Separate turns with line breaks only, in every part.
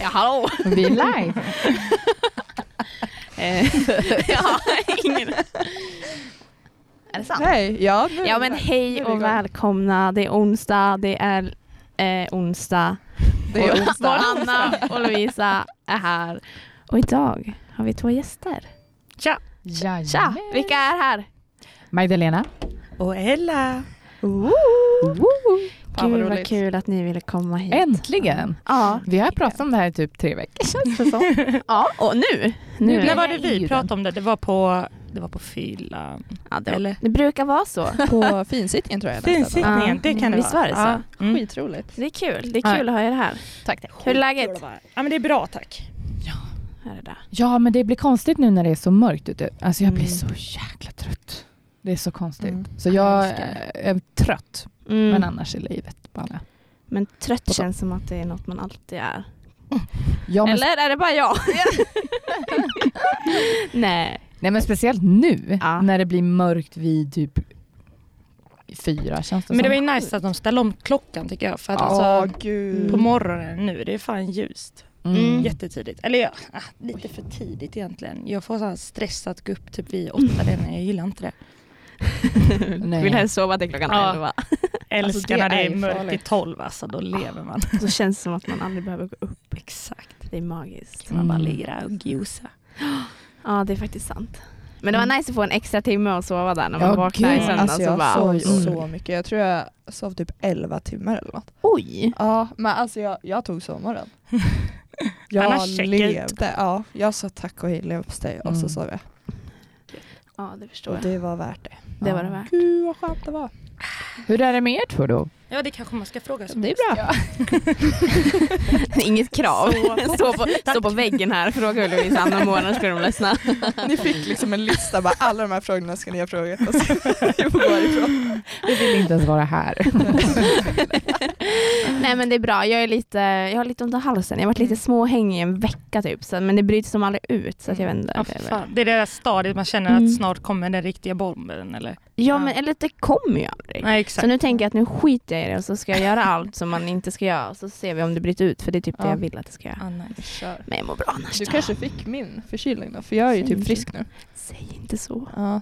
Ja, hallå!
Vi är live.
Eh, ja, ingen... Är det sant?
Nej, ja, nu är
Ja
vi
men
live. Nu
hej
är vi igång.
och välkomna, det är onsdag, det är eh, onsdag.
Det är
Och-
onsdag.
Och Anna och Lovisa är här. Och idag har vi två gäster.
Tja!
Jajamän.
Tja, vilka är här?
Magdalena.
Och Ella!
Fan, vad
Gud vad
roligt.
kul att ni ville komma hit.
Äntligen.
Ja,
Vi har pratat om det här i typ tre veckor känns det som.
ja och nu? nu
När
är det.
var det
i den.
vi pratade om det? Det var på, det var på fyllan.
Ja, det, var,
Eller?
det brukar vara så.
På finsittningen tror jag. jag läste att
Ja.
Finsittningen, det kan det
Visst var
vara.
det
Ja.
det var.
Mm.
Skitroligt.
Det är kul, det är kul att ha er här.
Tack, tack.
Hur är läget?
Ja men det är bra tack.
Här är det.
Ja, men det blir konstigt nu när det är så mörkt ute. Alltså jag blir
Mm.
så jäkla trött. Det är så konstigt.
Mm.
Så
Jag
jag eh, är trött,
Mm.
men eh, annars är livet bara...
Men trött känns som att det är något man alltid är.
Ja, men,
Eller är det bara jag? Nej.
nej, men speciellt nu
Ja.
när det blir mörkt vid typ fyra känns det
Men det
som.
var ju nice att de ställde om klockan tycker jag. För att
Åh
alltså,
gud.
på morgonen nu, det är fan ljust.
Mm.
Jättetidigt. Eller ja, ah, lite för tidigt egentligen. Jag får så här stress att gå upp typ vid åtta redan, jag gillar inte det.
Nej.
Vill helst sova till klockan
Ja.
elva.
Älskar
det
när det
är
är mörkt i
farligt.
tolv alltså, då lever man.
Så känns det som att man aldrig behöver gå upp.
Exakt.
Det är magiskt.
Mm.
Man bara ligger där och gosar.
Ja, det är faktiskt sant. Men det var nice att få en extra timme att sova där när man
Ja,
vaknade i
gud.
söndags
Alltså
och
jag
bara
sov
oj, oj.
så mycket. Jag tror jag sov typ 11 timmar eller något.
oj.
Ja, men alltså jag, jag tog sommaren. Jag
Annars check ut.
levde. Ja, jag sa tack och hej leverpastej och
Mm.
så sov jag.
Ja, det förstår
Och
jag.
det var värt det.
Det var det värt.
Gud vad skönt det var.
Hur är det med er två då?
Ja det kanske man ska fråga. som
Det är bra.
Inget krav.
Så-
Stå på, stå på väggen här, fråga hur Lovisa Anna mår, annars skulle de ledsna.
Ni fick liksom en lista bara alla de här frågorna ska ni ha frågat. Och så, jag får gå härifrån.
Vi vill inte ens vara här.
Nej men det är bra, jag, är lite, jag har lite ont i halsen. Jag har varit lite småhängig i en vecka typ, så, men det bryts som aldrig ut så att jag vänder.
Ja, för fan. Det är det där stadiet man känner
Mm.
att snart kommer den riktiga bomben eller?
ja men eller det kommer ju aldrig.
Nej
Så
exakt.
nu tänker jag att nu skiter jag i det och så ska jag göra allt som man inte ska göra och så ser vi om det bryter ut för det är typ det
Ja.
jag vill att det ska göra.
Ah, nej.
Kör.
Men jag mår bra annars
Du
då.
kanske fick min förkylning då, för jag är ju typ frisk nu.
Säg inte så.
Ja.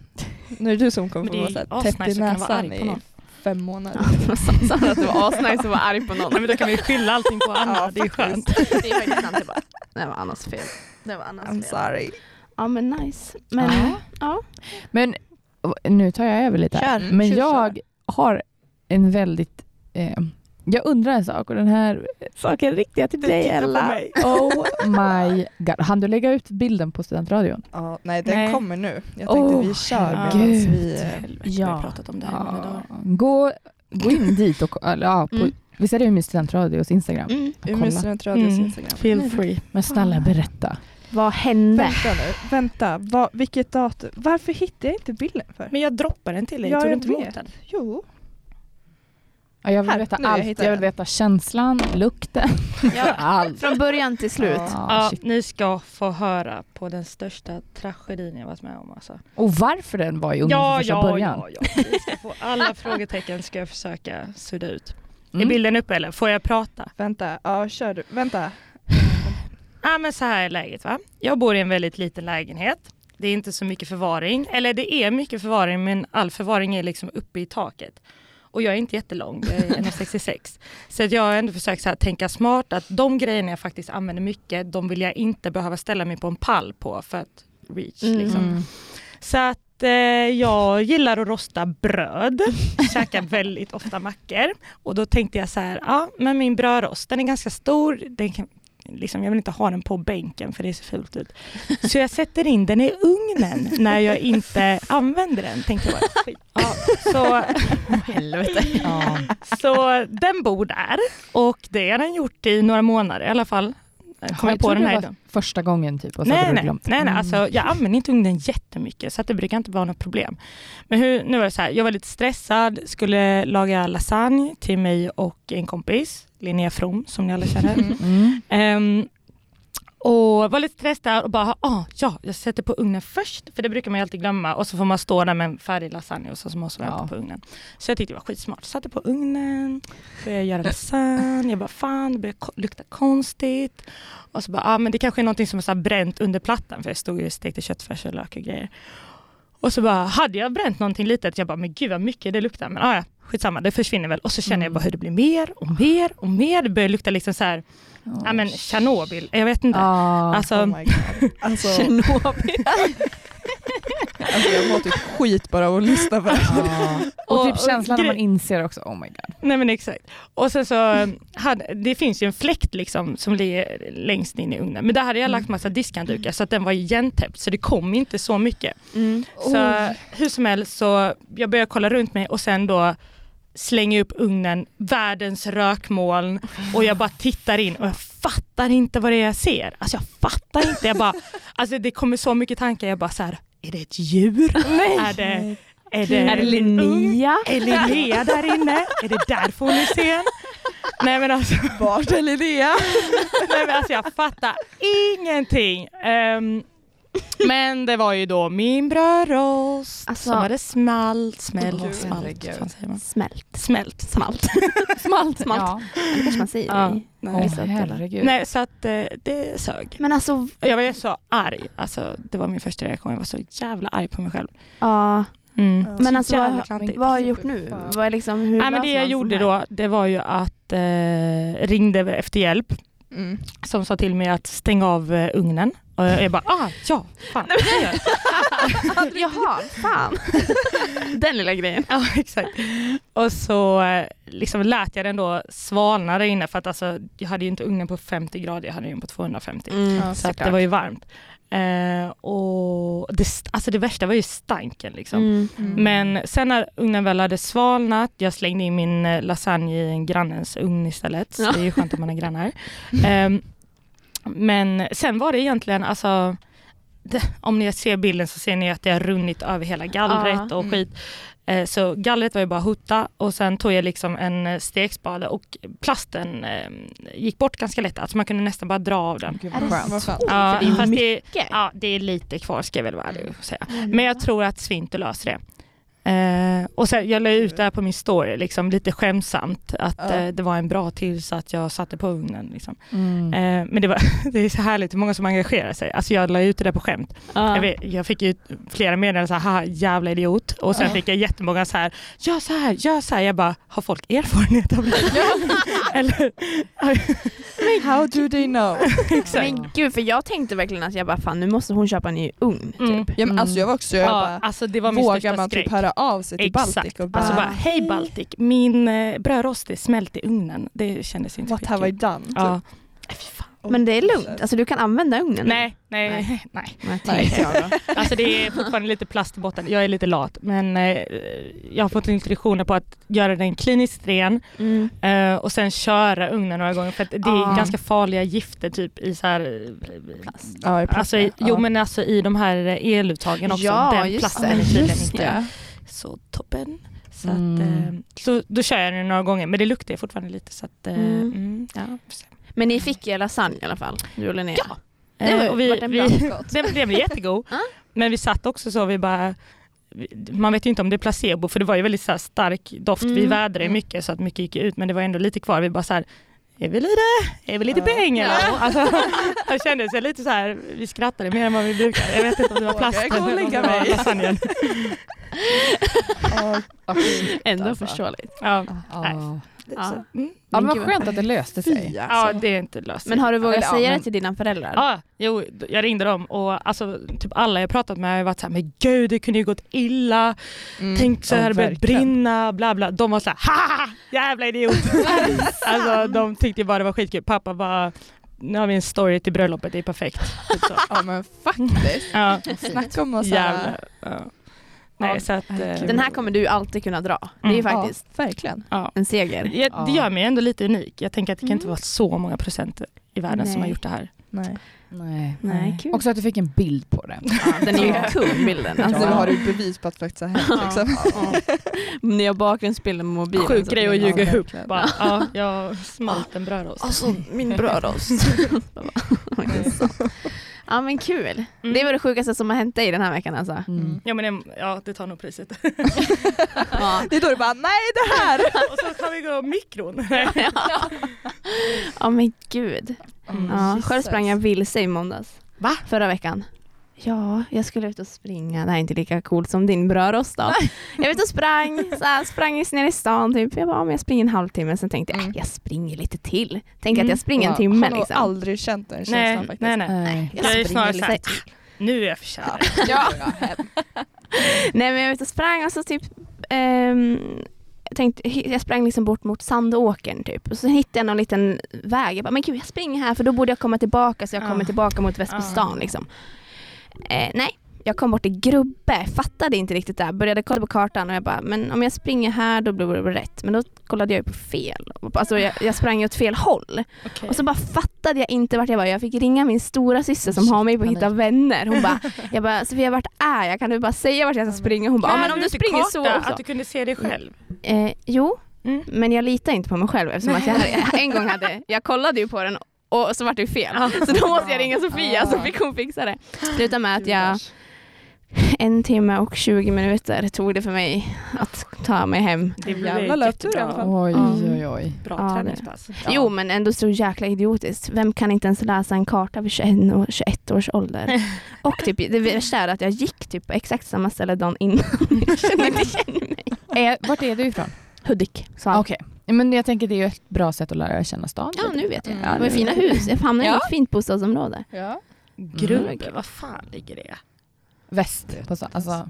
Nu är det du som kommer
Men
få
det är
vara
ju
såhär
asnice
täppt i
att kunna vara
näsan
arg på
i
någon.
fem månader.
Sa han att det var asnice att vara arg på någon?
Nej, men då kan vi skylla allting på Anna,
Ja,
det är skönt.
Det är faktiskt sant. jag bara, Det var Annas fel. Det var
I'm
Annas fel.
sorry.
Ja men nice. Men,
Ja.
ja.
Men nu tar jag över lite. här.
Kör.
Men
Kör,
jag har en väldigt... Eh, jag undrar en sak och den här saken riktiga till dig Ella. Oh my god. Hann du lägga ut bilden på studentradion?
Ja, nej, den
Nej.
kommer nu. Jag
Oh,
tänkte vi kör
herregud.
medan vi... eh,
Helvete, Ah, alltså, vi
Ja.
har pratat om det här i många dagar.
Gå, gå in dit och... Eller, ja, på,
Mm.
Visst är det Umeå studentradios Instagram?
Mm.
Och
Umeå
kolla.
studentradios
Mm.
Instagram.
Feel free.
Men snälla berätta.
Vad hände?
Vänta nu, vänta. Va, vilket datum? Varför hittar jag inte bilden för?
Men jag droppar den till dig,
Ja,
tog du
jag
inte emot
vet.
den?
Jo.
Ja, jag vill
Här,
veta
nu, jag
allt.
hittar
Jag vill
den.
veta känslan, lukten, allt.
Från början till slut.
Ja,
Ja,
shit.
ni ska få höra på den största tragedin jag varit med om alltså.
Och varför den var i Ungdom från
Ja,
första
ja,
början.
ja, ja. Ni ska få alla frågetecken ska jag försöka sudda ut. Är
Mm.
bilden uppe eller? Får jag prata?
Vänta, ja kör du. Vänta. Oh
Ja men så här är läget va. Jag bor i en väldigt liten lägenhet. Det är inte så mycket förvaring. Eller det är mycket förvaring men all förvaring är liksom uppe i taket. Och jag är inte jättelång, jag är 1,66. Så att jag har ändå försökt så här, tänka smart att de grejerna jag faktiskt använder mycket, de vill jag inte behöva ställa mig på en pall på för att reach.
Mm.
Liksom.
Mm.
Så att eh, jag gillar att rosta bröd, käkar väldigt ofta mackor. Och då tänkte jag så här, ja men min brödrost den är ganska stor, den kan, liksom, jag vill inte ha den på bänken för det ser fult ut. Så jag sätter in den i ugnen när jag inte använder den. Tänkte jag bara, skit. ja, så,
Helvete.
Ja.
så den bor där och det har den gjort i några månader i alla fall. Kom jag på
trodde
den
det
här
var
idén.
första gången typ och så hade
Nej,
du
nej, nej,
glömt.
nej
Mm.
alltså, jag använder inte ugnen jättemycket så att det brukar inte vara något problem. Men hur, nu var det så här, jag var lite stressad, skulle laga lasagne till mig och en kompis, Linnea From som ni alla känner.
Mm.
Mm.
Ehm, Och var lite stressad och bara, ah, ja, jag sätter på ugnen först. För det brukar man ju alltid glömma. Och så får man stå där med en färdig lasagne och så så måste man
Ja.
vänta på ugnen. Så jag tyckte det var skitsmart. Satte på ugnen, började göra lasagne. Jag bara, fan det börjar ko- lukta konstigt. Och så bara, ah, men det kanske är någonting som är så här bränt under plattan. För jag stod ju och stekte köttfärs och lök och grejer. Och så bara, hade jag bränt någonting litet? Jag bara, men gud vad mycket det luktar. Men ah, ja, skitsamma, det försvinner väl. Och så känner jag bara hur det blir mer och mer och mer. Det börjar lukta liksom så här, ja men Tjernobyl, jag vet inte.
Ah.
Alltså,
Oh my god. Alltså,
Tjernobyl.
alltså jag mår typ skit bara av att lyssna på det här.
Och,
Och-
typ
och
känslan när
gre-
man inser också, oh my god.
Nej men exakt. Och sen så, eh, hade, det finns ju en fläkt liksom som ligger längst in i ugnen. Men där hade jag lagt massa diskhanddukar så att den var igentäppt så det kom inte så mycket.
Mm.
Så hur som helst så, jag började kolla runt mig och sen då slänger jag upp ugnen, världens rökmoln och jag bara tittar in och jag fattar inte vad det är jag ser. Alltså jag fattar inte, jag bara, alltså det kommer så mycket tankar, jag bara så här, är det ett djur? Är det,
Är
är det,
det
en ugn?
Linnea?
Är Linnea där inne? Är det därför hon är sen? Nej men alltså,
Vart är Linnea?
nej, men alltså jag fattar ingenting. Ehm, men det var ju då min brödrost
Alltså-
som hade smalt, smält,
Åh,
smalt.
herregud.
Vad fan säger man?
Smält.
Smält.
Smalt. Smalt. Smalt.
Ja.
Det kanske man säger.
Ja.
Nej.
Åh
Vissa delar.
herregud.
Nej så att eh, det sög.
Men alltså,
Jag var så arg, alltså det var min första reaktion. Jag var så jävla arg på mig själv.
ja.
Mm.
Ja.
Men alltså
Så jävla
vad,
klantigt.
vad har du gjort nu?
Fan.
Vad är liksom, hur
Nej, men
löser
det jag
man
gjorde
sån här?
då, det var ju att eh, ringde efter hjälp
Mm.
som sa till mig att stänga av eh, ugnen. Och jag bara, ah ja, fan. det gör jag.
Jaha, fan. Den lilla grejen.
ja, exakt. Och så eh, liksom lät jag den då svalna där inne för att alltså, jag hade ju inte ugnen på 50 grader, jag hade den på 250.
Mm,
Ja,
så att det var ju varmt. Eh, och det, st- alltså det värsta var ju stanken liksom.
Mm.
Mm.
Men sen när ugnen väl hade svalnat, jag slängde in min eh, lasagne i en grannens ugn istället. Så
Ja.
det är ju skönt att man har grannar. Ehm, men sen var det egentligen, alltså, det, om ni ser bilden så ser ni att det har runnit över hela gallret
Ja. Mm.
och skit. Eh, så gallret var ju bara hutta och sen tog jag liksom en eh, stekspade och plasten eh, gick bort ganska lätt. Alltså man kunde nästan bara dra av den.
Gud,
Är
vad
det
skönt.
Vad skönt. Oh
Ja,
för det är ju
fast det,
mycket.
ja, det är lite kvar ska jag väl vara ärlig och säga. Men jag tror att Svinte löser det. Eh, och sen, jag la ut det här på min story, liksom, lite skämsamt, att
Ja.
eh, det var en bra tips att jag satte på ugnen. Liksom.
Mm.
Eh, men det, var, det är så härligt hur många som engagerar sig. Alltså jag la ut det där på skämt.
Ja.
Jag, vet, jag fick ju flera meddelanden så här, "Haha, jävla idiot. Och sen
Ja.
fick jag jättemånga så här, gör så här, gör så här. Jag bara, har folk erfarenhet av det? Eller, typ.
How do they know?
Men gud, för jag tänkte verkligen att jag bara fan nu måste hon köpa en ny ugn. typ.
mm.
Ja, men alltså jag var också, jag
ja,
bara,
alltså det var min
vågar
största
man
skräck.
typ höra av sig till
Exakt.
Baltic och bara,
Alltså bara, hej Baltic, min eh, brödrost är smält i ugnen. Det kändes inte
what
skitkul.
have I done? Typ.
Ja. Nej, fy fan.
Men det är lugnt, alltså du kan använda ugnen.
Nej, nej, nej.
Men jag
Nej.
tänkte jag då.
Alltså det är fortfarande lite plast i botten. Jag är lite lat men eh, jag har fått instruktioner på att göra den kliniskt ren
Mm.
eh, och sen köra ugnen några gånger för att det är
Ah.
ganska farliga gifter typ i så här eh,
Plast.
Ja, i plast,
Alltså, i,
ja.
Jo men alltså i de här eh, eluttagen också,
Ja,
den
just
plasten
det.
är tydligen
Just
inte
det.
så toppen. Så,
Mm.
att, eh, så då kör jag den några gånger men det luktar ju fortfarande lite så att eh,
Mm.
mm, ja, får se.
Men ni fick ju lasagne i alla fall, du och Linnea.
Ja.
Det var,
Eh, och vi,
vart en bra
vi,
skott.
den, den blev jättegod.
Ja.
Men vi satt också så, vi bara, vi- man vet ju inte om det är placebo för det var ju väldigt så här stark doft. Vi
Mm.
vädrade ju
Mm.
mycket så att mycket gick ut men det var ändå lite kvar. Vi bara så här, är vi lite, är vi lite
Ja.
pengar? Alltså, det kändes ju lite så här, vi skrattade mer än vad vi brukar. Jag vet inte om det var
Vågar jag
plasten
gå och
eller om
lägga
det var
mig?
lasagnen.
Ja,
Ah, shit,
Ändå
alltså.
förståeligt.
Ja.
Ah.
Ja.
Så, mm.
Ja,
Men
men
gud,
vad
vad
skönt att det löste sig.
fy,
ja,
alltså.
det är inte löst.
Men har du vågat
Eller, ja,
säga
men-
det till dina föräldrar?
Ja, jo, jag ringde dem och alltså, typ alla jag pratat med har ju varit såhär, men gud det kunde ju gått illa.
Mm.
Tänk så
Ja,
här det börjat
verkligen.
brinna, bla bla. De var så här, ha jävla idiot. alltså de tyckte bara det var skitkul. Pappa bara, nu har vi en story till bröllopet, det är perfekt. Typ så.
Ja men faktiskt.
Ja,
Snacka om att
jävla.
såhär.
Ja. Nej, så att, eh,
Den här kommer du alltid kunna dra. Det är ju
Mm.
faktiskt
Ja, verkligen.
ja.
en seger.
Ja, det gör mig ändå lite unik. Jag tänker att det kan inte
Mm.
vara så många procent i världen som har
Nej.
gjort det här.
Nej.
Nej.
Nej, kul.
Också att du fick en bild på det.
Ja, den är ju
Ja.
kung bilden.
Alltså,
Alltså,
Nu har du bevis på att det faktiskt har hänt.
Ja.
Liksom.
Ni har bakgrundsbilden med mobilen.
Sjuk
så
grej att
det är-
ljuga
Ja,
ihop.
verkligen.
Bara, ja, jag smalt en brödrost.
Alltså min brödrost. faktiskt så. Ja men kul.
Mm.
Det var det sjukaste som har hänt dig den här veckan alltså.
Mm.
Ja men det- ja, det tar nog priset.
Ja,
Det är då du bara, nej det här!
Och så kan vi gå mikron.
ja men gud. Ja, själv sprang jag vilse i måndags.
Va?
Förra veckan. Ja, jag skulle ut och springa. Det här är inte lika coolt som din brödrost då. Jag var ute och sprang, så här, sprang ner i stan typ. Jag bara, ja, men jag springer en halvtimme. Sen tänkte jag,
Mm.
äh, jag springer lite till. Tänk
Mm.
att jag springer en
Ja,
timme
har nog
liksom.
aldrig känt den känslan
Nej,
faktiskt.
nej, nej.
Nej.
Jag är ju snarare
lite-
så här, Nu är jag för kär.
Ja.
Nej men jag var ute och sprang och så typ ehm, jag tänkte, jag sprang liksom bort mot Sandåkern typ. Och så hittade jag någon liten väg. Jag bara, men gud jag springer här för då borde jag komma tillbaka så jag
Ah.
kommer tillbaka mot Västbystan
Ah.
liksom. Eh, nej, jag kom bort till Grubbe. Fattade inte riktigt där. Började kolla på kartan och jag bara, men om jag springer här då blir det väl rätt. Men då kollade jag ju på fel. Alltså jag, jag sprang ju åt fel håll.
Okej.
Och så bara fattade jag inte vart jag var. Jag fick ringa min stora syster som har mig på att hitta vänner. Hon bara, jag bara Sofia vart är jag? Kan du bara säga vart jag ska springa? Hon bara, ja, men om du
inte
springer
karta,
så och så.
Att du kunde se dig själv.
Eh, jo,
Mm.
men jag litar inte på mig själv eftersom att jag hade, en gång hade, jag kollade ju på den och så vart det ju fel.
Ja.
Så då måste jag ringa Sofia så fick hon fixa det. Sluta med att jag en timme och 20 minuter tog det för mig att ta mig hem.
Det blev
Jävlar, löp du
jättebra.
i alla fall.
Oj,
Mm.
oj, oj.
Bra
Ja, det-
träningspass.
Jo men ändå så jäkla idiotiskt. Vem kan inte ens läsa en karta vid 21, och 21 års ålder? Och typ, det värsta är att jag gick typ på exakt samma ställe dagen innan. Jag kände inte igen mig.
Eh, vart är du ifrån?
Hudik sa han.
Okej, men jag tänker det är ju ett bra sätt att lära känna stan.
Ja nu vet jag.
Mm.
Det var ju fina hus. Jag hamnade i
Ja.
ett fint bostadsområde.
Ja.
Mm.
Grubbe, vad fan ligger det?
Väst på stan. Alltså,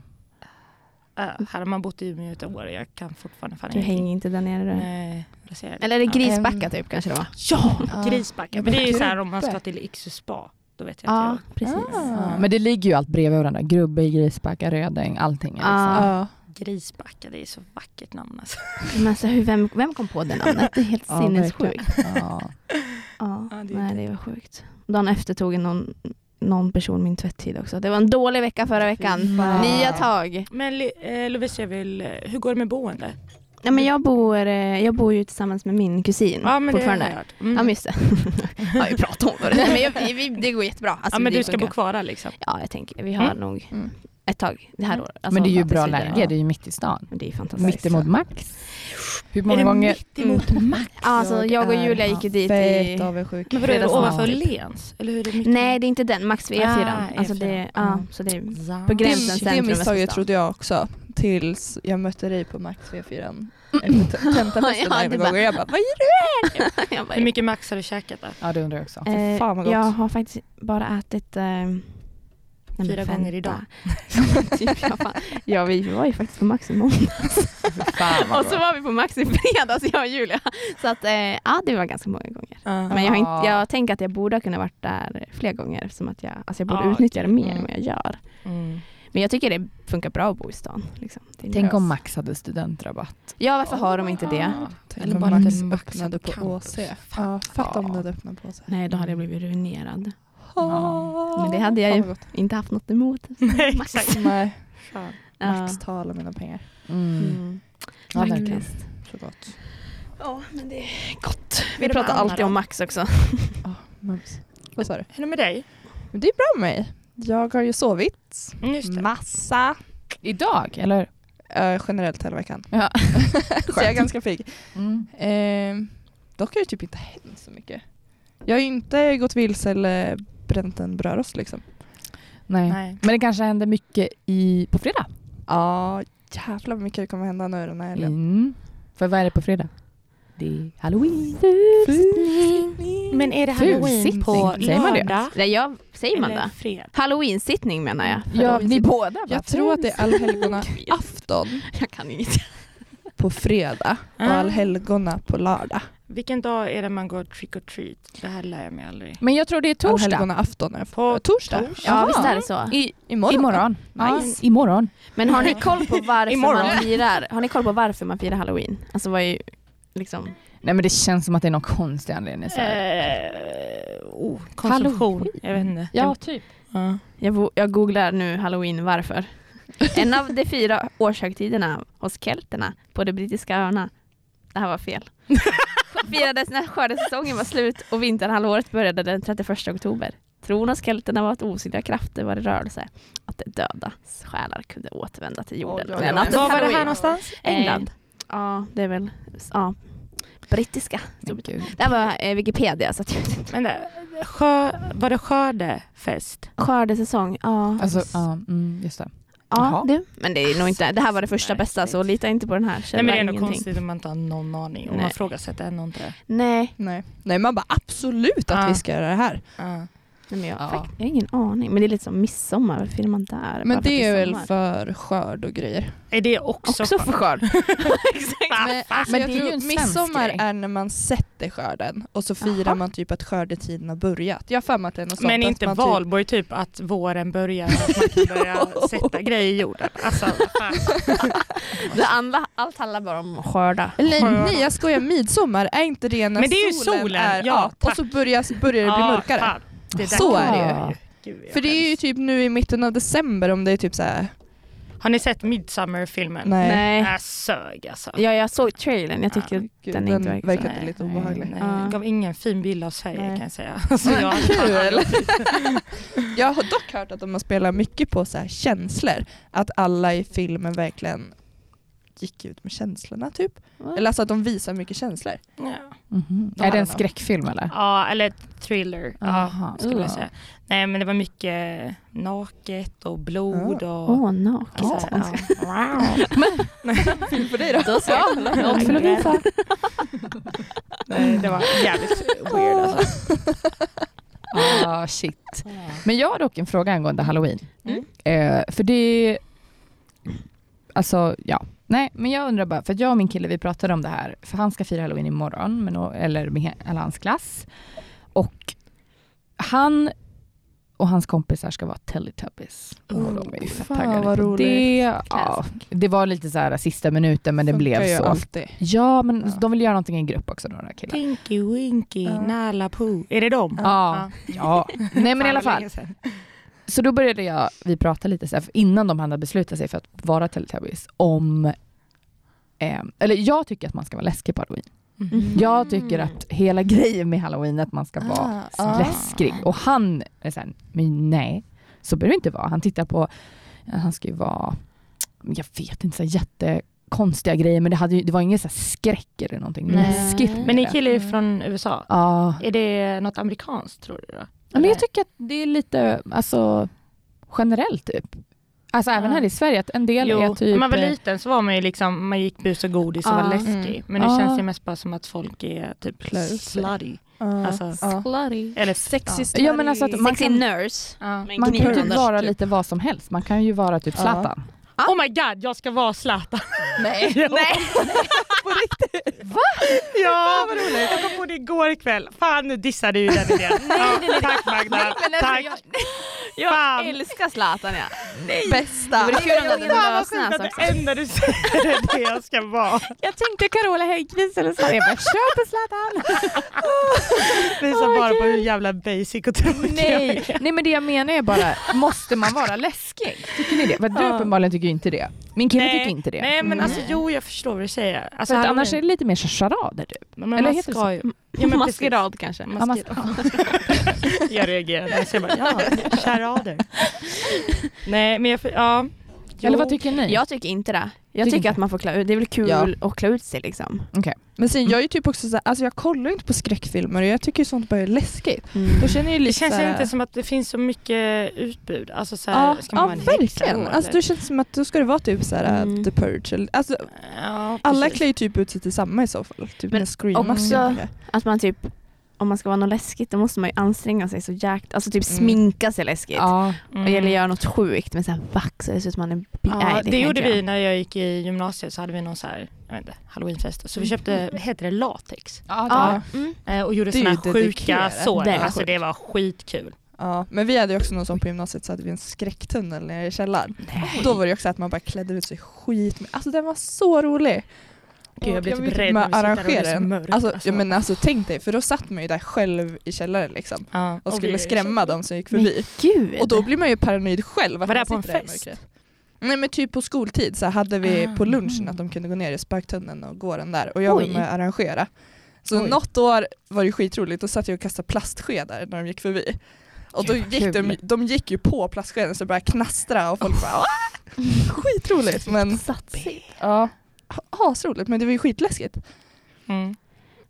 Äh, här har man bott i Umeå i ett år. Jag kan fortfarande fan
Du hänger inte där nere du.
Nej, det ser jag.
Eller är det
Ja,
Grisbacka typ kanske det var?
Ja,
Ja.
Grisbacka.
Ja,
Men det är ju
men
så här om man
Grubbe.
ska till Iksu spa. Då vet jag
Ja
inte.
precis.
ja. Men det ligger ju allt bredvid varandra. Grubbe, Grisbacka, Rödäng, allting. är
Ja.
liksom-
Ja.
Grisbacka, det är så vackert namn alltså.
Men alltså, hur, vem, vem kom på det namnet? Det är helt
Ja,
sinnessjukt.
Ja.
Ja,
Ja, det är
nej det var sjukt. Dagen efter tog någon, någon person min tvätttid också. Det var en dålig vecka förra veckan.
fan.
Nya tag.
Men Li- eh, Lovisa, jag vill, eh, hur går det med boende?
Ja, men jag, bor, eh, jag bor ju tillsammans med min kusin
Ja men det har
fortfarande.
jag hört. Mm.
Ja men just det. ja, vi pratade om det. Nej, Men jag, vi, det går jättebra. Alltså,
ja, men
det
du ska
funkar.
bo kvar där liksom?
Ja jag tänker, vi har
Mm.
nog
Mm.
ett tag det här året. Alltså,
men det är ju
tills
bra
vi blir-
läge, det är ju mitt i stan.
Men Det är ju fantastiskt.
Mitt emot Max. Hur många
är det
gånger...
mitt emot Max?
Ja, alltså, jag och Julia gick ju dit i...
Fett avundsjuk.
Men vadå, är det
Fredagsmorgon,
ovanför
typ.
Lens? Eller hur är det mitt
Nej det är inte den, max vid E4.
Ah,
alltså, det,
E4.
ja,
Mm.
så det är...
Ja.
på gränsen.
Det- Det
centrum,
misstaget
Västerstan.
trodde jag också tills jag mötte dig på Max V4. Efter t- Tentafesten
Mm. Ja,
ja,
du
en
bara-
gång och jag bara, vad är
jag bara,
Hur mycket Max har du käkat då?
Ja, det undrar jag också.
eh,
fan vad gott.
jag har faktiskt bara ätit... Eh, nej, men
Fyra
vänta.
gånger idag.
typ, ja, fan. ja vi var ju faktiskt på Max i måndags.
Fan
Och så var vi på Max i fredags, jag och Julia. Så att, eh, ja det var ganska många gånger. Men jag, har inte, jag tänker att jag borde ha kunnat varit där fler gånger eftersom att jag, alltså jag borde
Ja,
utnyttja det mer
mm.
än vad jag gör.
Mm.
Men jag tycker det funkar bra att bo i stan. Liksom. Det är
Tänk
bra.
om Max Ah. hade studentrabatt.
Ja varför har de inte det?
det?
Eller
Eller
bara
bara Max
den Max
öppnade
på
på
campus.
ÅC. Ja, fatta om det hade öppnat på ÅC.
Nej då hade jag blivit ruinerad.
Ah.
Men det hade jag ju.
Fan vad gott.
Inte haft något emot.
Nej,
Max.
exakt.
Nej,
Fan.
Ja.
Max tar alla mina pengar.
Mm.
Ja, verkligen.
Faktiskt.
Så gott.
Ja men det är gott.
Är
Vi
det
pratar
med Anna
alltid
då?
om Max också.
Mums. Vad sa du?
Hur är det med dig?
Men det är bra med mig. Jag har ju sovit
Mm, Just det.
massa.
Idag, eller
Eh, generellt hela veckan.
Ja.
så jag är ganska pigg.
mm.
Eh, dock har det typ inte hänt så mycket. Jag har ju inte gått vilse eller bränt en brödrost liksom.
Nej.
Nej.
Men det kanske händer mycket i, på fredag.
Ja, jävlar vad mycket det kommer hända nu den här helgen.
Mm. För vad är det på fredag? Det är halloween.
Men är det halloween
Fulsittning,
på
säger man det?
lördag?
Nej, jag, säger man
Eller
det?
fredag?
Halloween-sittning menar jag.
Ja, ni båda va?
Jag tror att det är allhelgona afton
Jag kan inget.
på fredag och
Ah.
allhelgona på lördag.
Vilken dag är det man går trick or treat? Det här lär jag mig aldrig.
Men jag tror det är torsdag.
Allhelgona afton är
På
på torsdag.
torsdag.
Ja
Jaha.
visst är det så.
I,
Imorgon.
imorgon.
Ja.
Nice. Imorgon.
Men har ni koll på varför
Imorgon.
man firar? Har ni koll på varför man firar halloween? Alltså vad är liksom...
Nej men det känns som att det är någon konstig anledning. Så här.
Eh, oh, konsumtion.
Halloween.
Jag vet inte.
Ja, typ.
Ja.
Jag, vo- jag googlar nu halloween varför. En av de fyra årshögtiderna hos kelterna på de brittiska öarna. Det här var fel. firades när skördesäsongen var slut och vinterhalvåret började den 31 oktober. Tron och skelterna var att osynliga krafter var i rörelse. Att de döda själar kunde återvända till jorden.
Oj, oj,
Men
oj.
att
Var
Var var det
halloween- Eh.
här någonstans?
England. Ja, det är väl ja, brittiska.
Gud.
Det här var eh, Wikipedia. Så att jag vet inte.
Men det, sjö, var det skördefest?
Skördesäsong, ja.
Alltså, ja, mm, just det.
ja
Jaha.
du. Men det är nog inte, det här var det första
Nej,
bästa så
nej.
lita inte på den här
Nej
källan.
men det är nog
ingenting.
konstigt om man inte har någon aning. Om
Nej.
man ifrågasätter ändå inte.
Nej,
Nej. Nej, man bara absolut att
Ja.
vi ska göra det här.
Ja.
nej men jag,
Ja.
fakt, jag har ingen aning. Men det är lite som midsommar, varför firar man där? Bara
Men
för att
det är väl
sommar.
för skörd och grejer.
Är det också,
Också för skörd. Exakt.
Men,
men
jag
det är ju
tror
en svensk
midsommar
grej.
är när man sätter skörden och så firar
Jaha.
man typ att skördetiden har börjat. Jag har för mig att det är något sånt.
Men
att
inte
man
valborg typ att våren börjar och att man kan börja sätta grejer i jorden. Alltså, vad fan.
Det andra, allt handlar bara om skörda.
Typ... Nej, nej, jag skojar. Midsommar, är inte det när
Men det är ju
solen,
solen,
är...
ja,
och
tack.
så börjar, börjar det bli
Ja,
mörkare.
fan. Det där-
Så är
det ju.
Gud, jag
För det är ju typ nu i mitten av december om det är typ så här.
skäms. Har ni sett Midsummer-filmen?
Nej.
Nej.
Äh, sög alltså.
Ja, jag såg trailern. Jag tycker
Gud,
den,
den,
är inte verkar
verkade
så-
Nej,
lite
nej,
obehaglig.
Nej,
Ja.
det eh, gav ingen fin bild av Sverige
Nej.
kan jag säga. Alltså, jag,
Kul! jag har dock hört att de har spelat mycket på så här känslor. Att alla i filmen verkligen gick ut med känslorna typ. Eller alltså att de visar mycket känslor.
ja.
Mhm.
Ja,
Är det en
då.
skräckfilm eller?
ja, eller thriller.
Aha.
Ja, skulle
Ja.
jag säga. Nej men det var mycket naket och blod och...
Åh, naket.
Så här, ja. Wow.
Film för dig då?
Då så.
Och
Full av visa.
Nej, det var jävligt weird alltså.
Ah, shit. Men jag har dock en fråga angående halloween.
Mm.
Eh, för det... Alltså, ja. Nej, men jag undrar bara, för att jag och min kille vi pratade om det här, för han ska fira halloween imorgon, men, och- eller med he- alla hans klass. Och han och hans kompisar ska vara Teletubbies. och de är ju fett
fan,
taggade
vad
på
roligt.
Det, ja,
Classic.
det var lite så här sista minuten, men det blev så.
alltid.
Ja, men
Ja.
de vill göra någonting i grupp också, de där killarna.
Tinky Winky,
Ja.
Nala Poo. Är det dem?
Ja. ja. Nej, men i alla
Fan, vad
fall.
länge sedan.
Så då började jag, vi prata lite så här, för innan de hade beslutat sig för att vara Teletubbies om eh, eller jag tycker att man ska vara läskig på halloween.
Mhm.
Jag tycker att hela grejen med halloween är att man ska vara
Mm. Ah.
läskig. Och han är såhär, men nej, så behöver det inte vara. Han tittar på, han ska ju vara, jag vet inte, så här jättekonstiga grejer men det, hade ju, det var ingen så här skräck eller någonting
Nej.
läskigt med
Men ni
det.
killar är ju från USA.
Ja,
Är det något amerikanskt tror du? Då?
Ja, men
Eller?
jag tycker att det är lite alltså, generellt typ. Alltså även
Ja.
här i Sverige, att en del är
Jo,
typ...
när man var liten så var man ju liksom, man gick bus och godis och
Ja.
var läskig.
Mm.
Men nu
Ja.
känns det mest bara som att folk är typ
Klär ut sig.
slutty.
Ja.
Alltså,
Ja.
eller
Sexist.
Ja, men alltså att man
Sexy
kan,
nurse.
Ja.
Men
man kan ju
kniv.
typ vara lite vad som helst. Man kan ju vara typ
Ja.
Zlatan.
Ja. Oh my god, jag ska vara Zlatan.
Nej.
Jo. Ja, vad roligt. Jag kom på det igår kväll. Fan, nu dissade du den idén. Ja, tack Magda.
Men alltså,
Tack.
jag, jag
Fan.
älskar Zlatan ja.
Bästa!
Det var kul om den hade
Fan vad
lösnäs
sjukt att
också.
det enda du säger är det jag ska vara.
Jag tänkte Carola Häggkvist eller så. Jag bara, kör på Zlatan!
Visar
Åh,
bara på
gud.
hur jävla basic och tråkig jag är.
Nej. Nej, men det jag menar är bara, måste man vara läskig? Tycker ni det? För du
Ja.
uppenbarligen tycker ju inte det. Min kille
Nej.
tycker inte det.
Nej men alltså jo jag förstår vad du säger. Alltså,
För att
han-
annars är det lite mer charader typ.
men man
eller heter det
ska ju... Ja, men precis.
Maskerad kanske.
Ja, man-
Jag reagerar när jag ser bara ja, charader. Nej men jag, ja. Jo.
Eller vad tycker ni?
Jag tycker inte det. Jag
Tycker
tycker
inte.
att man får klä ut Det är väl kul
Ja.
att klä ut sig liksom.
Men sen jag är ju typ också såhär, alltså jag kollar ju inte på skräckfilmer och jag tycker ju sånt bara är läskigt. Då känner jag ju
Mm. Det
lite
känns
så här-
inte som att det finns så mycket utbud. Alltså så här,
Ja,
ska man
ja
vara en häxa
verkligen.
då,
Alltså,
eller?
det känns som att då ska det vara typ såhär
Mm.
The Purge. Eller, alltså,
ja,
alla
precis.
klär ju typ ut sig till samma i så fall. Typ
Men
när Screamers
också-
gör det.
Att man typ, om man ska vara något läskigt då måste man ju anstränga sig så jäkligt. Alltså typ
Mm.
sminka sig läskigt.
Ja.
Mm.
Eller göra något sjukt med såhär vax så det ser ut som man är bi- Nej,
Ja, det,
kan jag
gjorde
inte
vi
göra.
när jag gick i gymnasiet så hade vi någon så här, jag vet inte, halloweenfest. Så vi köpte, vad heter det, latex.
Ja, det
Ja.
är-
Mm.
Eh, Och gjorde
Mm. Det är ju
sådana här sjuka
dedikerat.
sår.
Det är
alltså
sjukt.
det var skitkul.
Ja, men vi hade ju också någon sån på gymnasiet så hade vi en skräcktunnel nere i källaren. Då var det ju också att man bara klädde ut sig skit med. Alltså den var så rolig.
Gud, jag blir
Och
typ
vet
rädd
inte
när
hur
vi
man
sitter där och det är
arrangerar
så
den.
mörkt,
Alltså,
alltså.
ja, men alltså tänk dig, för då satt man ju där själv i källaren liksom.
Ja.
Och skulle
vi-
skrämma dem som gick
Men
förbi.
gud.
Och då blir man ju paranoid själv. att
Var det
man
på en
sitter där i
fest?
mörkret. Nej men typ på skoltid så hade vi
Ah.
på lunchen att de kunde gå ner i sparktunneln och gå den där och jag
Oj.
var med och arrangera. Så
Oj.
något år var det skitroligt, då satt jag och kastade plastskedar när de gick förbi. Och då
Gud, vad
gick de,
kul.
de gick ju på plastskeden så det började knastra och folk bara "Ah!" Skitroligt men
Satsigt.
Ja.
asroligt men det var ju skitläskigt.
Mm.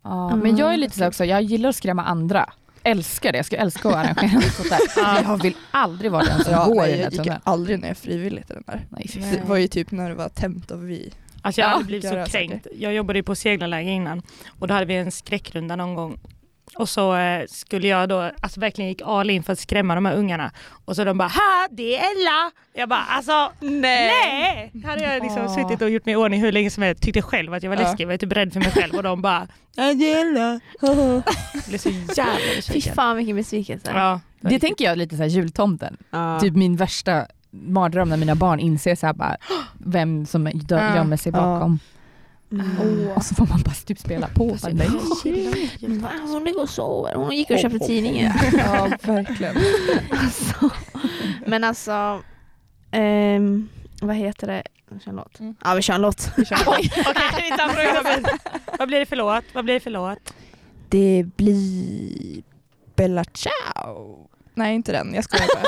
Ja,
Ja,
men jag är
jag
lite så här också, jag gillar att skrämma andra. Älskar det, jag skulle älska att arrangera något sånt där.
Ja.
Jag vill aldrig vara den som
Ja,
Alltså, går
nej,
i den här
jag gick ju
tunneln.
aldrig ner frivilligt i den där.
Nej, fy
Det var ju typ när det var tämt av vi.
Alltså jag har
Ja,
aldrig blivit
jag rör
så
saker.
kränkt. Jag jobbade ju på seglarläger innan och då hade vi en skräckrunda någon gång. Och så eh, skulle jag då, alltså verkligen gick all in för att skrämma de här ungarna. Och så de bara ha det är Ella! Jag bara alltså nej! Hade jag liksom
Åh.
suttit och gjort mig i ordning hur länge som helst, tyckte själv att jag var
Ja.
läskig, var typ rädd för mig själv och de bara "Ja, det är Ella! Jag blev så jävla
Fy
besviken.
fan vilken besvikelse.
Ja,
Det tänker jag lite så här jultomten.
Ja.
Typ min värsta mardröm när mina barn inser så här bara, vem som dö-
Ja.
gömmer sig
Ja.
bakom.
Mm.
Och så får man bara typ spela på.
Fast jag-
Nej.
Men vad, Hon ligger och sover. Hon gick och köpte tidningen.
Ja verkligen.
Alltså, men alltså, ehm, vad heter det? Vi kör en låt.
Mm.
Ja vi kör en låt. Oj.
Okej, vi tar frågan. Vad blir det för låt? Vad blir det för låt?
Det blir Bella Ciao. Nej inte den, jag skojar bara.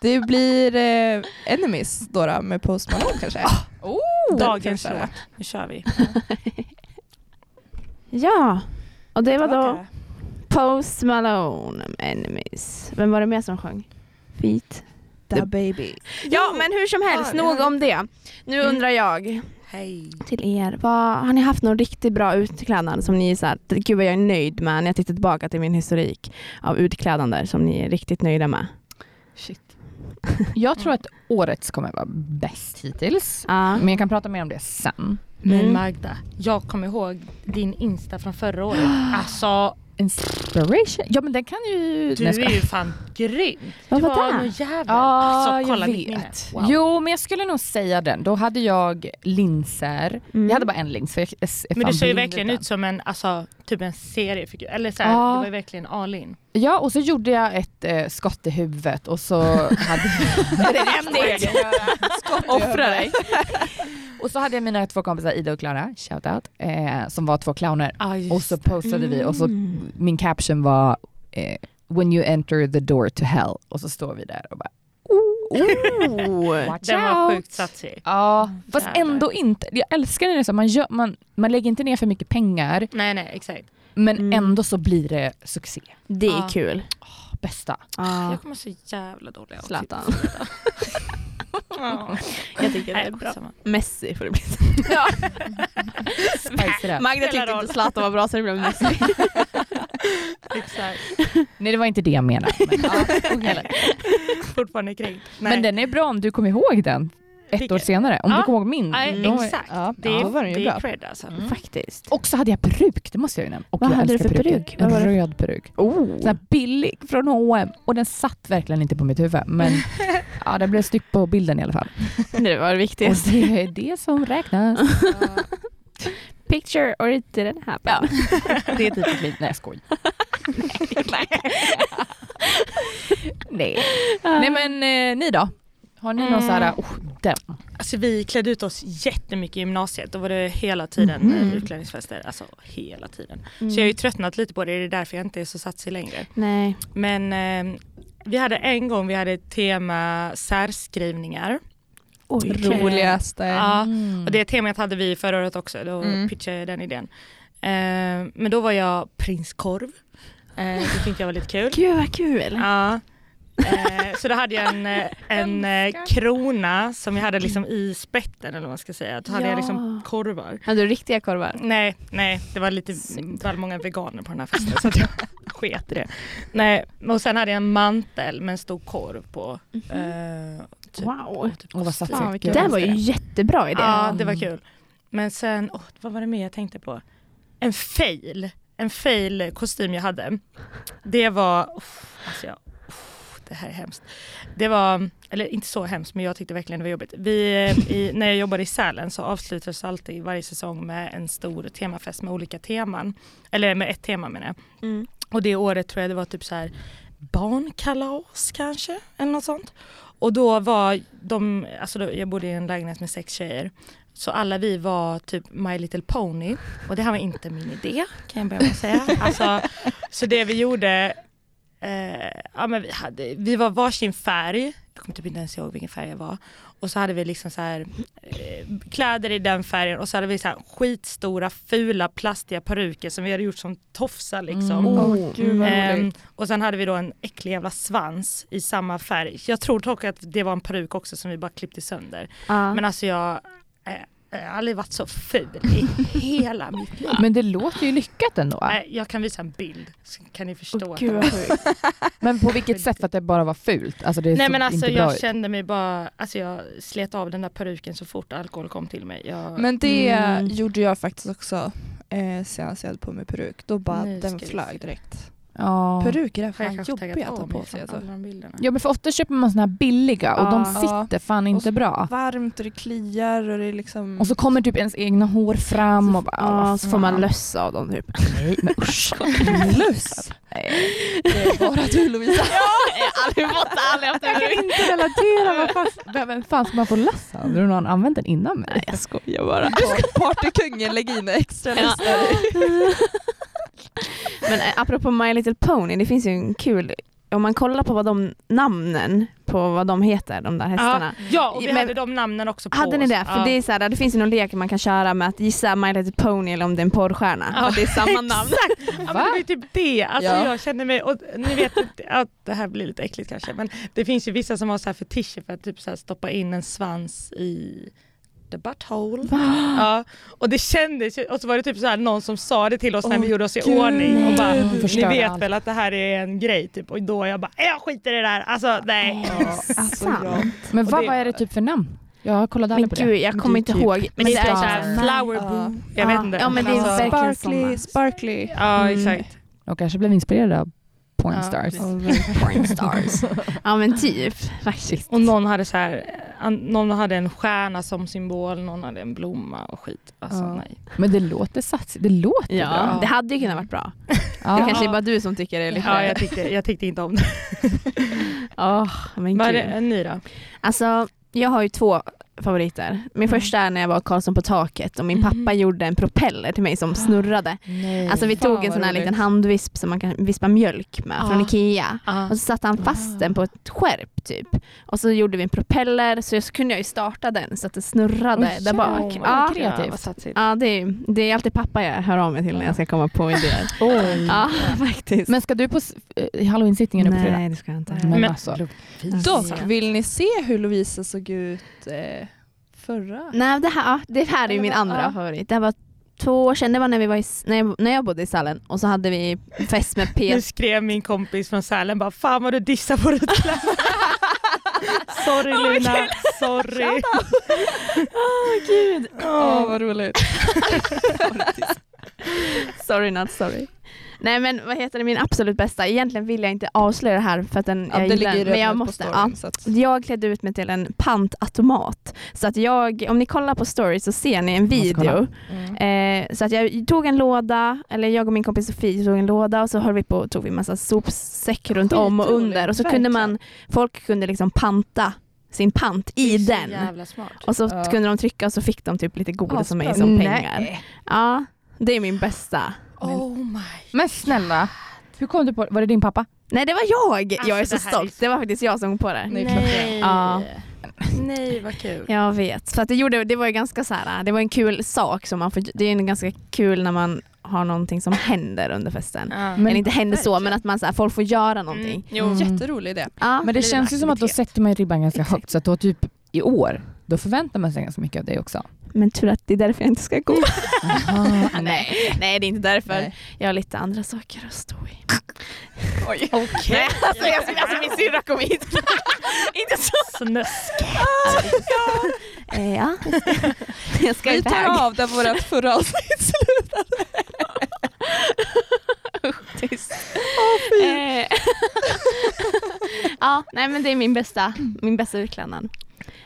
Det blir eh, Enemies då, då med Post Malone kanske.
Oh,
Den
Dagens
kanske.
låt. Nu kör vi.
Ja, och det var då Post Malone Enemies. Vem var det mer som sjöng? Beat.
The baby.
Ja men hur som helst,
Ja, det
nog
har-
om det. Nu
Mm.
undrar jag
Hej.
till er, vad, har ni haft någon riktigt bra utklädnad som ni är så här, gud vad jag är nöjd med när jag tittar tillbaka till min historik av utklädnader som ni är riktigt nöjda med?
Shit. Jag tror att årets kommer vara bäst hittills.
Ja.
Men jag kan prata mer om det sen.
Men
Mm.
Magda, jag kommer ihåg din Insta från förra året. Alltså,
Inspiration. Ja men den kan ju... Nej,
du
jag skojar.
är ju fan grym.
Vad
du
var det?
någon jävel.
Ja,
alltså, kolla
jag
mitt minne.
vet.
Wow.
Jo, men jag skulle nog säga den. Då hade jag linser.
Mm.
Jag hade bara en lins. För jag är fan
Men du ser ju
blind
verkligen
utan.
ut som en, alltså, typ en seriefigur. Eller så här,
Ja.
du var ju verkligen all in.
Ja, och så gjorde jag ett eh, skott i huvudet och så hade Offra dig. Och så hade jag mina två kompisar Ida och Klara, shoutout, eh, som var två clowner.
Ah,
Och så postade vi och så
Mm.
min caption var eh, When you enter the door to hell. Och så står vi där och bara
Oh.
watch
Den var
out.
sjukt satsig.
Ja, fast
Jävlar.
ändå inte. Jag älskar när det är så. Man, gör, man, man lägger inte ner för mycket pengar
Nej, nej, exakt.
men
Mm.
ändå så blir det succé.
Det är
Ja.
kul.
Bästa.
Ja. typ.
Jag kommer så jävla dåliga outfits.
Zlatan.
Ja.
Jag tycker det
Nej,
är bra.
skitsamma.
Messi får det bli.
Spice it up.
Magda
Spelar
tyckte
roll.
inte Zlatan var bra så det blev Messi.
Exakt.
Nej det var inte det jag menade. Men, ja, okej.
Fortfarande kränkt. Nej.
men den är bra om du kommer ihåg den ett
Vilken?
år senare. Om
Ja.
du kommer ihåg min.
Nej,
då-
exakt.
Ja,
Det
då var den
är,
ju
det är
bra.
cred alltså.
Mm.
Faktiskt.
Och så hade jag peruk, det måste jag ju nämna. Och
Vad
jag
hade du
älskar
för
peruker.
peruk? Vad
En
var det för-
röd peruk.
Oh.
Sån här billig från H&M Och den satt verkligen inte på mitt huvud. Men ja, den blev snygg på bilden i alla fall.
Det var det
Och
viktigaste.
det är det som räknas.
Picture or it didn't happen.
Det är typ ett liv. Nej jag skojar. Nej. Nej men eh, ni då? Har ni någon
Mm.
så här, oh, den.
Alltså vi klädde ut oss jättemycket i gymnasiet. Då var det hela tiden
Mhm.
mm. utklädningsfester. Alltså hela tiden.
Mm.
Så jag har ju tröttnat lite på det. Det är därför jag inte är så satsig längre.
Nej.
Men eh, vi hade en gång vi hade ett tema särskrivningar.
Oj.
Roligaste.
Ja,
Mm.
och det temat hade vi förra året också. Då
Mm.
pitchade jag den idén. Eh, men då var jag prinskorv. Eh, det tyckte jag var lite kul.
Gud vad kul.
Ja. Eh, så då hade jag en, eh, en eh, krona som jag hade liksom i spetten eller vad man ska säga. Då hade jag liksom
Ja.
korvar.
Hade du riktiga korvar?
Nej, nej, det var lite väl många veganer på den här festen så att jag sket i det. Nej, och sen hade jag en mantel med en stor korv på.
Mm.
eh, typ,
Wow.
typ
Mm. Åh, vad satsigt.
kostym.
vilken-
Det där var ju jättebra idé.
Ja, det var kul. Men sen, åh, vad var det mer jag tänkte på? En fail. En fail kostym jag hade. Det var, oh, alltså jag, oh, det här är hemskt. Det var, eller inte så hemskt men jag tyckte verkligen det var jobbigt. Vi, eh, i, när jag jobbade i Sälen så avslutades alltid varje säsong med en stor temafest med olika teman. Eller med ett tema menar jag.
Mm.
Och det året tror jag det var typ så här barnkalas kanske, eller något sånt. Och då var de, alltså då, jag bodde i en lägenhet med sex tjejer. Så alla vi var typ My Little Pony och det här var inte min idé kan jag börja med att säga. Alltså, så det vi gjorde, eh, ja, men vi, hade, vi var varsin färg, jag kommer typ inte ens ihåg vilken färg jag var. Och så hade vi liksom så här, eh, kläder i den färgen och så hade vi så här skitstora fula plastiga peruker som vi hade gjort som tofsar liksom.
Mm.
Åh, gud vad
Ehm,
roligt.
och sen hade vi då en äcklig jävla svans i samma färg. Jag tror dock att det var en peruk också som vi bara klippte sönder.
Ja.
Men alltså jag eh, jag har aldrig varit så ful i hela mitt liv.
Men det låter ju lyckat ändå.
Nej, jag kan visa en bild så kan ni förstå.
Åh,
att
gud
det var-
vad sjukt.
Men på vilket sätt? För att det bara var fult? Alltså det
Nej
såg
men alltså
inte bra
jag
ut.
kände mig bara, alltså jag slet av den där peruken så fort alkohol kom till mig. Jag,
Men det
Mm.
gjorde jag faktiskt också eh, senast jag hade på mig peruk. Då bara
Nu
den
ska vi se.
flög direkt.
Ja.
Peruker är
har jag
fan
kanske
jobbiga
taggat
att ta
av mig
på sig.
från
Alltså.
alla de bilderna.
ja men för ofta köper man såna här billiga och de
Ja.
sitter fan
Och
inte
så- Mm.
bra.
Varmt och det kliar och det är liksom...
Och så kommer typ ens egna hår fram och bara
Ja,
vad
så får man
fan.
lössa av dem typ.
Nej men usch.
Löss! Det är bara du Lovisa.
Jag har aldrig fått det, aldrig haft
Jag kan inte relatera. Vad fan, vem fan ska man få löss av? Har någon använt den innan mig?
Nej, jag skojar bara.
Par- Partykungen, lägg in extra
Ja.
listor.
Men eh, apropå My Little Pony, det finns ju en kul, om man kollar på vad de namnen på vad de heter, de där hästarna.
Ja och vi
Men-
hade de namnen också på
Hade ni
oss.
det? För
Ja.
det, är så här, det finns ju någon lek man kan köra med att gissa My Little Pony eller om det är en porrstjärna.
Ja,
Att det är samma namn.
Exakt! Ja, men det var ju typ det. Alltså,
Ja.
Jag kände mig, och ni vet inte, ja, det här blir lite äckligt kanske, men det finns ju vissa som har så här fetischer för att typ så här stoppa in en svans i the butthole. Ja, och det kändes ju, och så var det typ så här någon som sa det till oss när vi
Åh,
gjorde oss i
gud.
ordning och bara
Nej.
ni
Förstör
vet
allt.
väl att det här är en grej typ och då jag bara jag skiter i det där, alltså nej.
Alltså,
Sant.
jag,
Men
Och
vad
det-
vad är det typ för namn? Jag kollade
Men
aldrig på det.
gud, jag kommer inte ihåg.
Men det är typ
är
så
så
här
här-
flower
Ja.
boo, jag vet inte.
Ja men det är
Alltså,
verkligen
sparkly,
såna.
sparkly.
Ja
Mm.
exakt.
Och kanske blev inspirerad av
Ja,
pornstars.
precis.
Porn stars. Ja men typ faktiskt.
Och någon hade så här, eh, an, någon hade en stjärna som symbol, någon hade en blomma och skit. Alltså
Ja.
nej.
Men det låter satsigt. Det låter
Ja,
bra.
det hade ju kunnat varit bra.
Ja.
Det kanske är bara du som tycker det är lite...
Ja, jag, tyckte, jag tyckte inte om det.
Åh, men
Vad är
gud.
det, en ny då?
Alltså, jag har ju två favoriter. Min
Mm.
första är när jag var Karlsson på taket och min pappa
Mhm.
gjorde en propeller till mig som snurrade.
Nej.
Alltså vi
Fan,
tog en
vad
sån här
roligt.
liten handvisp som man kan vispa mjölk med
Ja.
från Ikea.
Ah.
Och så satte han fast den på ett skärp typ. Och så gjorde vi en propeller så, jag, så kunde jag ju starta den så att det snurrade
Oj,
där bak.
jävlar,
Ja,
vad
Ah,
kreativt.
ja det, är, det är alltid pappa jag hör av mig till när jag ska komma på idéer. ja, faktiskt.
Men ska du på s- eh, halloween-sittningen nu på fredag?
Nej, det ska jag inte. alltså,
Men
Men-
alltså,
Dock, vill ni se hur Lovisa såg ut eh, förra?
Nej, det här, ja, det här är ju min
Eller vad-
andra
ja.
favorit. Det här var två år sedan, det var när, vi var i, när, jag, när jag bodde i Sälen och så hade vi fest med P.
Nu skrev min kompis från Sälen bara fan vad du dissar på ditt kläder. sorry Lina, sorry.
Ah,
Ah.
Åh vad roligt.
sorry not sorry. Nej men vad heter det, min absolut bästa. Egentligen vill jag inte avslöja det här för att den,
Ja,
jag
det
gillar
ligger
den, men jag
redan på
måste. Ja.
storyn, så att-
Jag klädde ut mig till en pantautomat. Så att jag, om ni kollar på story så ser ni en
måste
video.
kolla.
Eh, så att jag tog en låda, eller jag och min kompis Sofie tog en låda och så höll vi på och tog vi massa sopsäck runt om och
Skitroligt,
under. Och så kunde
verkligen.
man, folk kunde liksom panta sin pant i den.
Jävla smart.
Och så
Ja.
kunde de trycka och så fick de typ lite godis som mig
Asbra.
som
Nej.
pengar. Ja, det är min bästa.
Oh my.
Men snälla, hur kom du på Var det din pappa?
Nej det var jag! jag är
Alltså,
så
det här är
stolt.
så-
Det var faktiskt jag som kom på det.
Det är klart det.
Ja.
Nej vad kul.
Jag vet. För att det, gjorde, det var ju ganska så här, det var en kul sak. Som man får, det är ju en ganska kul när man har någonting som händer under festen.
Ja.
Men-
Eller inte händer så,
verkligen.
men att man så här, folk får göra någonting.
Mm. Ah. Jo.
Jätterolig idé.
Ja.
Men det
Blir
känns ju som att då
aktivitet.
sätter man ju ribban ganska
Exakt.
högt så att då typ i år, då förväntar man sig ganska mycket av dig också.
Men tur att det är därför jag inte ska gå.
Aha,
Nej, nej det är inte därför.
Nej.
Jag har lite andra saker att stå i.
Oj.
Nej, alltså, jag, alltså min syrra kom hit. inte så.
Snusk.
Eh, ja. Jag ska
Vi
iväg.
tar av där vårat förra avsnitt slutade.
Tyst. Eh, ja, nej men det är min bästa, min bästa utklädnad.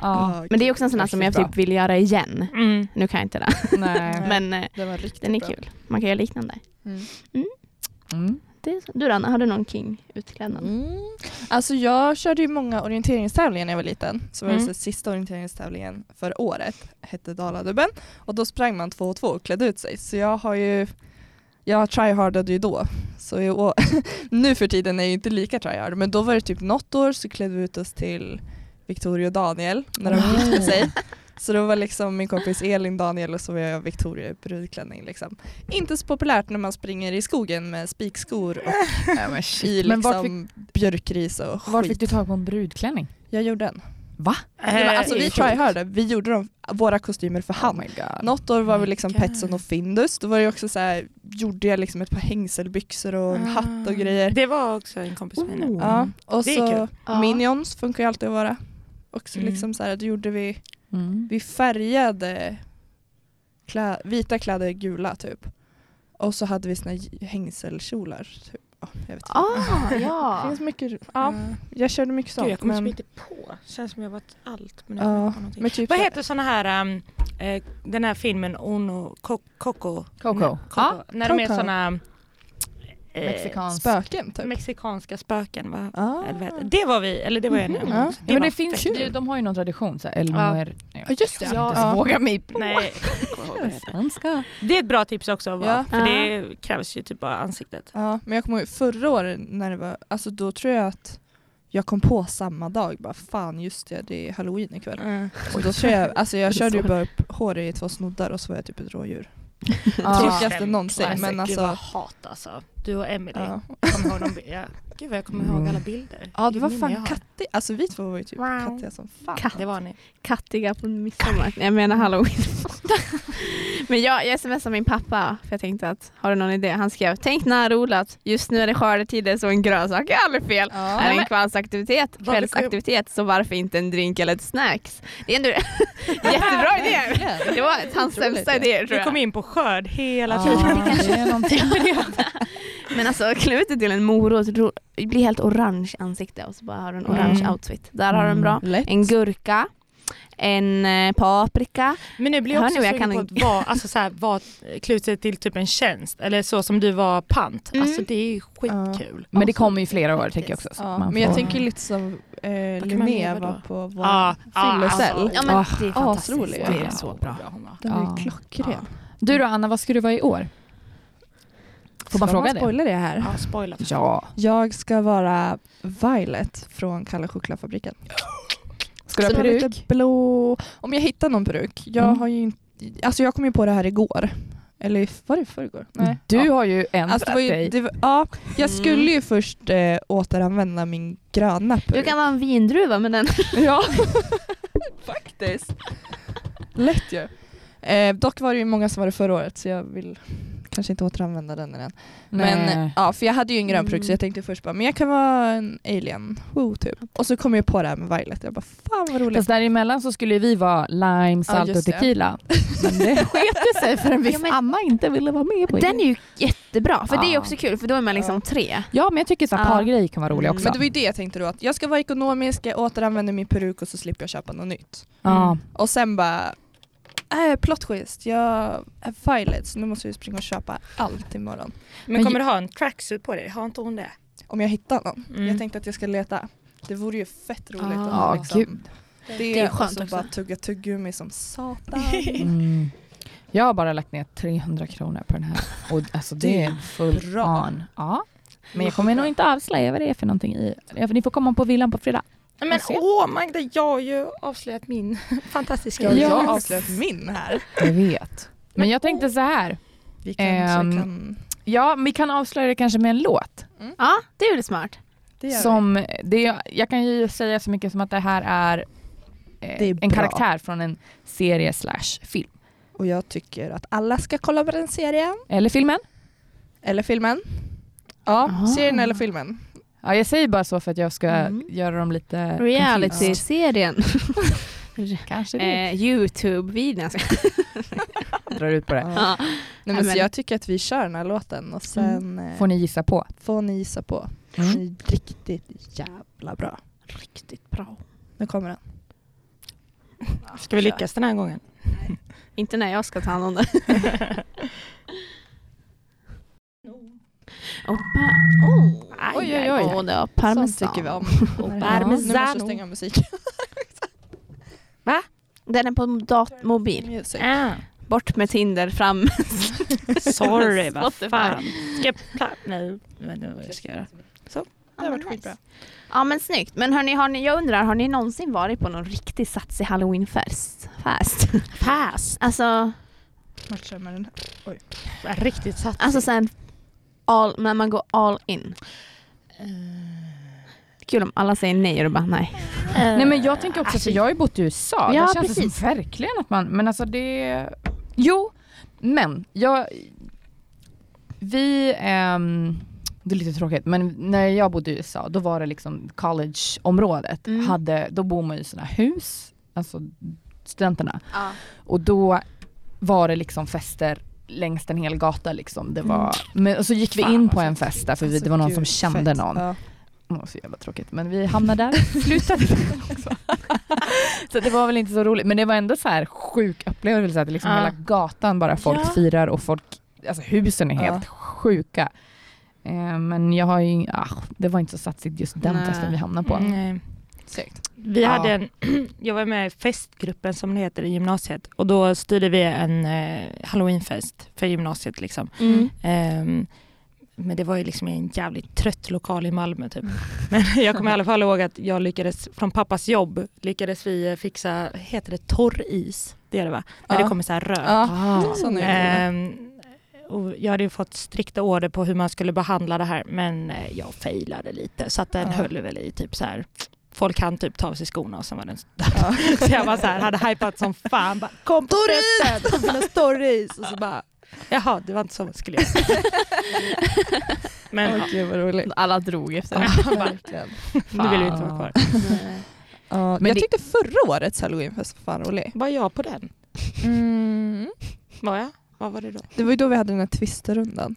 Ja,
Men det är också en sån här som jag
Riktigt
typ vill göra igen.
Mm.
Nu kan jag inte det,
nej.
men eh,
Den var riktigt
den är
bra.
kul. Man kan göra liknande.
Mm.
Mm.
Det är så. Du då Anna, har du någon king utklädnad?
Mm. Alltså jag körde ju många orienteringstävlingar när jag var liten. Så var det
Mm.
så sista orienteringstävlingen för året hette Daladubben och då sprang man två och två och klädde ut sig. Så jag har ju, jag tryhardade ju då. Så i år, nu för tiden är jag ju inte lika tryhard men då var det typ något år så klädde vi ut oss till Victoria och Daniel när de gifte sig. Så då var liksom min kompis Elin Daniel och så var jag Victoria i brudklänning. Liksom. Inte så populärt när man springer i skogen med spikskor och
Ja, men
i
shit. Men
liksom
vart fick,
björkris och
vart
skit. Eh,
fick du tag på en brudklänning?
Jag gjorde den.
Va?
Nej, men alltså vi
Eh,
tryhardade, vi gjorde de, våra kostymer för hand.
Oh my god.
Något år var vi
my
liksom
God.
Petson och Findus, då var det också så här, gjorde jag liksom ett par hängselbyxor och en
Ah.
hatt och grejer. Oh,
Det var också en kompis med nu.
Ja, och
Det är
så
Ja.
Minions funkar ju alltid att vara. Också
Mm.
liksom så här, då gjorde vi,
Mm.
vi färgade klä, vita kläder gula typ. Och så hade vi såna här hängselkjolar. Typ. Ja, jag vet inte.
Ah,
Det
ja.
finns mycket, ja, jag körde mycket sånt.
Gud, jag kommer liksom
men-
inte på. Känns som jag varit allt. Men jag
Ja,
kommer inte på
men
någonting.
typ
Vad
så-
heter såna här, um, eh, den här filmen Ono Co- Coco?
Coco.
Coco.
Ja.
När de är
Coco.
såna eh,
Mexikansk.
Spöken typ?
mexikanska spöken va?
Ah.
Eller vad heter Det Det var vi, eller det var jag när jag var
Mhm.
också.
Ja, men
var
det finns
fett-
ju, de har ju någon tradition. Så här, Elmer, nej,
Ja just det.
jag kan
Ja.
inte ens våga mig på
Nej, jag kommer ihåg vad det heter.
svenska.
det är ett bra tips också att vara,
Ja.
för det krävs ju typ bara ansiktet.
Ja, men jag kommer ihåg förra året när det var, alltså då tror jag att jag kom på samma dag bara fan just det, det är halloween ikväll. Så då tror jag, alltså jag körde ju bara upp hår i två snoddar och så var jag typ ett rådjur.
Ja.
Tråkigaste någonsin
Classic.
men
Gud vad
alltså.
hat alltså. Du och Emily.
Ja.
Kommer ihåg de, ja. Gud vad jag kommer
Mm.
ihåg alla bilder.
ja det var
Minnen jag
fan
har.
kattig, alltså vi två var ju typ
Wow.
kattiga som fan.
Katt.
Det var ni.
Kattiga på midsommar. Jag menar halloween. Men jag, jag smsade min pappa för jag tänkte att har du någon idé? Han skrev tänk nära odlat. Just nu är det skördetider så en grönsak är aldrig fel.
Ja.
Är det en kvällsaktivitet,
Varför-
kvällsaktivitet så varför inte en drink eller ett snacks? Det är ändå jättebra idé. Det var hans
Otroligt,
sämsta
ja.
idé tror
Vi kom
jag.
in på skörd hela
Ja,
tiden.
det är någonting.
Men alltså klä ut dig till en morot, ro- bli helt orange ansikte och så bara har du en
Mm.
orange outfit. Där har du en bra.
Lätt.
En gurka, en eh, paprika.
Men nu blir jag
Hör
också
ni vad jag
sugen på
kan-
att vara, alltså så här, vara klutet till typ en tjänst eller så som du var pant.
Mm.
Alltså det är ju skitkul.
Men det kommer ju flera år
Faktiskt.
tänker jag också. så
Ja,
man
men jag
får-
tänker lite som eh,
kan man
Linnea
leva då?
var på vår
Ja, ja,
fyllecell.
alltså.
Ja men
Ah,
det är
asrolig.
fantastiskt.
Det är
Ja.
så bra.
hon var.
Den var
Ja.
ju klockren.
Du då Anna, vad ska du vara i år? Får man
Ska
fråga
man
det?
spoila det här?
Ja, spoiler.
Ja.
Jag ska vara Violet från Kalle chokladfabriken.
Ska du ha
Så jag är
peruk?
lite blå. Om jag hittar någon peruk. Jag
Mm.
har ju inte, alltså jag kom ju på det här igår. Eller i- var det i förrgår? Nej.
Mm. Du
ja.
har ju ändrat
Alltså det var ju,
dig.
det var, ja, jag
Mm.
skulle ju först eh, återanvända min gröna
Du
peruk.
kan vara en vindruva men den...
Ja, faktiskt. Lätt ju. Eh, dock var det ju många som var det förra året så jag vill kanske inte återanvända den än. Men eh,
Nej.
ja, för jag hade ju en grön peruk så
Mm.
jag tänkte först bara, men jag kan vara en alien, woo typ. Och så kom jag på det här med Violet, jag bara fan vad roligt.
Fast däremellan så skulle ju vi vara lime, salt och
just det.
tequila. Men det sket ju sig för en viss
Ja, men-
Anna inte ville vara med på.
Den är ju jättebra för det är ju
Ja.
också kul för då är man liksom
Ja.
tre.
Ja men jag tycker så här
Ja.
pargrejer kan vara roliga
Mm.
också.
Men det var ju det jag tänkte då, att jag ska vara ekonomisk, jag återanvänder min peruk och så slipper jag köpa något nytt.
ja.
Och sen bara, äh, plot twist, jag är Violet så nu måste vi springa och köpa allt imorgon.
Men kommer du ha en tracksuit på dig? Har inte hon det?
Om jag hittar någon.
Mm.
Jag tänkte att jag ska leta. Det vore ju fett roligt
Ah.
att
Ja,
ha liksom,
gud.
det,
Det är ju
och
skönt
så
också.
bara tugga tuggummi som satan.
Mm. Jag har bara lagt ner 300 kronor på den här. Och alltså det
Det
är
är
en full
bra.
on. Ja. Men jag kommer nog inte avslöja vad det är för någonting i. Ja, för Ni får komma på villan på fredag.
Men
Jag ser.
åh Magda, jag har ju avslöjat min fantastiska
Ska
Ja.
jag har avslöjat min här?
Jag vet. Men jag tänkte så här.
Vi kanske
Ehm,
kan...
Ja, vi kan avslöja det kanske med en låt.
Ja, det är väl smart.
Det gör vi.
Som, det, jag kan ju säga så mycket som att det här är, eh,
Det är
en
bra.
karaktär från en serie slash film.
Och jag tycker att alla ska kolla på den serien.
Eller filmen.
Eller filmen. Ja,
Aha.
serien eller filmen.
Ja, jag säger bara så för att jag ska
Mm.
göra dem lite... confused.
Reality-serien.
Ja, Kanske det.
Eh, Youtube-videon.
drar ut på det.
Ja.
Nej,
Nej,
men
men-
Så jag tycker att vi kör den här låten och sen eh,
Mm. Får ni gissa på.
får ni gissa på.
Mm.
Den är riktigt jävla bra.
Riktigt bra.
Nu kommer den.
Ska vi lyckas den här gången?
Inte när jag ska ta hand om det. Och pa- oh.
Oj, oj, oj.
Och det var
Sånt
parmesan.
tycker vi om.
Och
Ja,
Nu måste jag
parmesano.
stänga av musiken.
Den är på dat- mobil.
Music.
Ah,
Bort med Tinder, fram med
sorry, vad
Spotify.
fan. Ska jag pla- Nej, jag vet inte vad jag ska göra.
Ja,
Det
men
har varit
nice.
skitbra.
Ja men snyggt. Men hörni, har ni, jag undrar, har ni någonsin varit på någon riktig satsig halloweenfest? Fest?
Fast.
Alltså,
Snart kör man den. här.
Riktigt satt.
alltså sen all, när man går all in. Eh. Kul om alla säger nej och du bara nej.
Nej men jag tänker också, för jag har ju bott i USA,
Ja,
där känns det
precis.
som verkligen att man, men alltså det, jo, men jag, vi, ehm, det är lite tråkigt, men när jag bodde i USA, då var det liksom collegeområdet,
Mm.
hade, då bor man ju i sådana hus, alltså studenterna, och då var det liksom fester längs en hel gata liksom. Det var, men, och så gick vi
Fan,
in
vad
på en fest där för vi,
Alltså,
det var någon
gud,
som kände
fett.
någon.
Ja.
Åh, så jävla tråkigt. Men vi hamnade där, slutade där också. så det var väl inte så roligt. Men det var ändå så här sjuk upplevelse att liksom
Ja.
hela gatan bara folk
Ja.
firar och folk, alltså husen är
Ja.
helt sjuka. Eh, men jag har ju, ing- ah, det var inte så satsigt just den
Nej.
festen vi hamnade på.
Nej.
Snyggt.
Mm. Vi
mm. Ja.
hade en, jag var med i festgruppen som det heter i gymnasiet och då styrde vi en eh, halloweenfest för gymnasiet liksom.
Mm.
Ehm, men det var ju liksom i en jävligt trött lokal i Malmö typ. Men jag kommer i alla fall ihåg att jag lyckades, från pappas jobb, lyckades vi eh, fixa, heter det torris? Det är det va? När det
Ja.
kommer så här rök.
Ja.
Ah.
Sån är det.
Ehm, och jag hade ju fått strikta order på hur man skulle behandla det här men eh, jag failade lite så att den
Ja.
höll väl i typ så här Folk hann typ ta av sig skorna och sen var den
Ja.
Så jag var så här, hade hypat som fan. Bara, Kom på festen!
På mina stories! Och så bara,
Jaha, det var inte så man skulle göra. Men
åh gud vad roligt.
Alla drog efter det.
Ja, verkligen.
ja, nu vill vi inte vara kvar.
Ja,
Men
jag
det-
tyckte förra årets halloweenfest var fan rolig.
Var jag på den?
Mm.
Var jag? Vad var det då?
Det var ju då vi hade den här twisterrundan.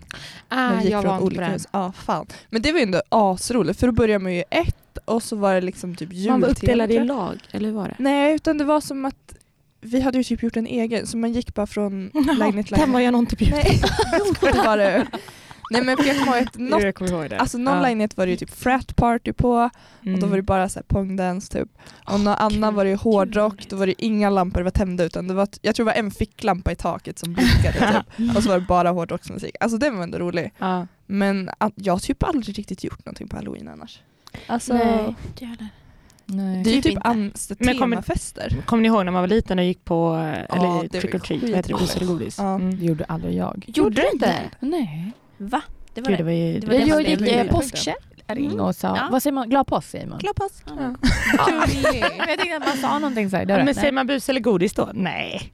När
Ah,
vi gick
jag
från
var inte på
olika
den.
hus. Ja, fan. Men det var ju ändå asroligt för då började man ju ett och så var det liksom typ jultema.
Man var uppdelad i
tror jag.
lag, eller hur var det?
Nej utan det var som att vi hade ju typ gjort en egen så man gick bara från lägenhet till
den var
lägenhet.
jag nog inte bjuden
Nej, jo, det var det. Nej men för jag kommer ihåg att något,
Jag kommer ihåg det.
alltså någon
Ja.
lägenhet var det ju typ frat party på Och då
Mm.
var det bara så här pongdance typ. Och någon annan var det ju hårdrock, då var det inga lampor var tända utan det var, jag tror det var en ficklampa i taket som blinkade typ. Och så var det bara hårdrocksmusik. Alltså den var ändå rolig.
Ja.
Men att, jag har typ aldrig riktigt gjort någonting på halloween annars. Alltså,
Nej, det gör det.
Nej.
Det är ju
Typ
typ
inte.
ans-
Men kommer-
temafester.
Kommer ni ihåg när man var liten och gick på, eh,
Ja,
eller
det var
trick or treat, vad
skit-
heter det, bus eller godis?
Ja.
Det
Mm.
gjorde aldrig jag.
Gjorde du inte?
Nej.
Va? Det var
Gud, det
det.
var ju...
Det var
Jag,
det
jag
man
gick
blev
eh,
lite-
påskkärring och sa,
Ja.
vad säger man, glad påsk säger man.
Glad påsk!
Ja.
Ja. Men jag tänkte att man sa någonting såhär.
Men säger man bus eller godis då? Nej.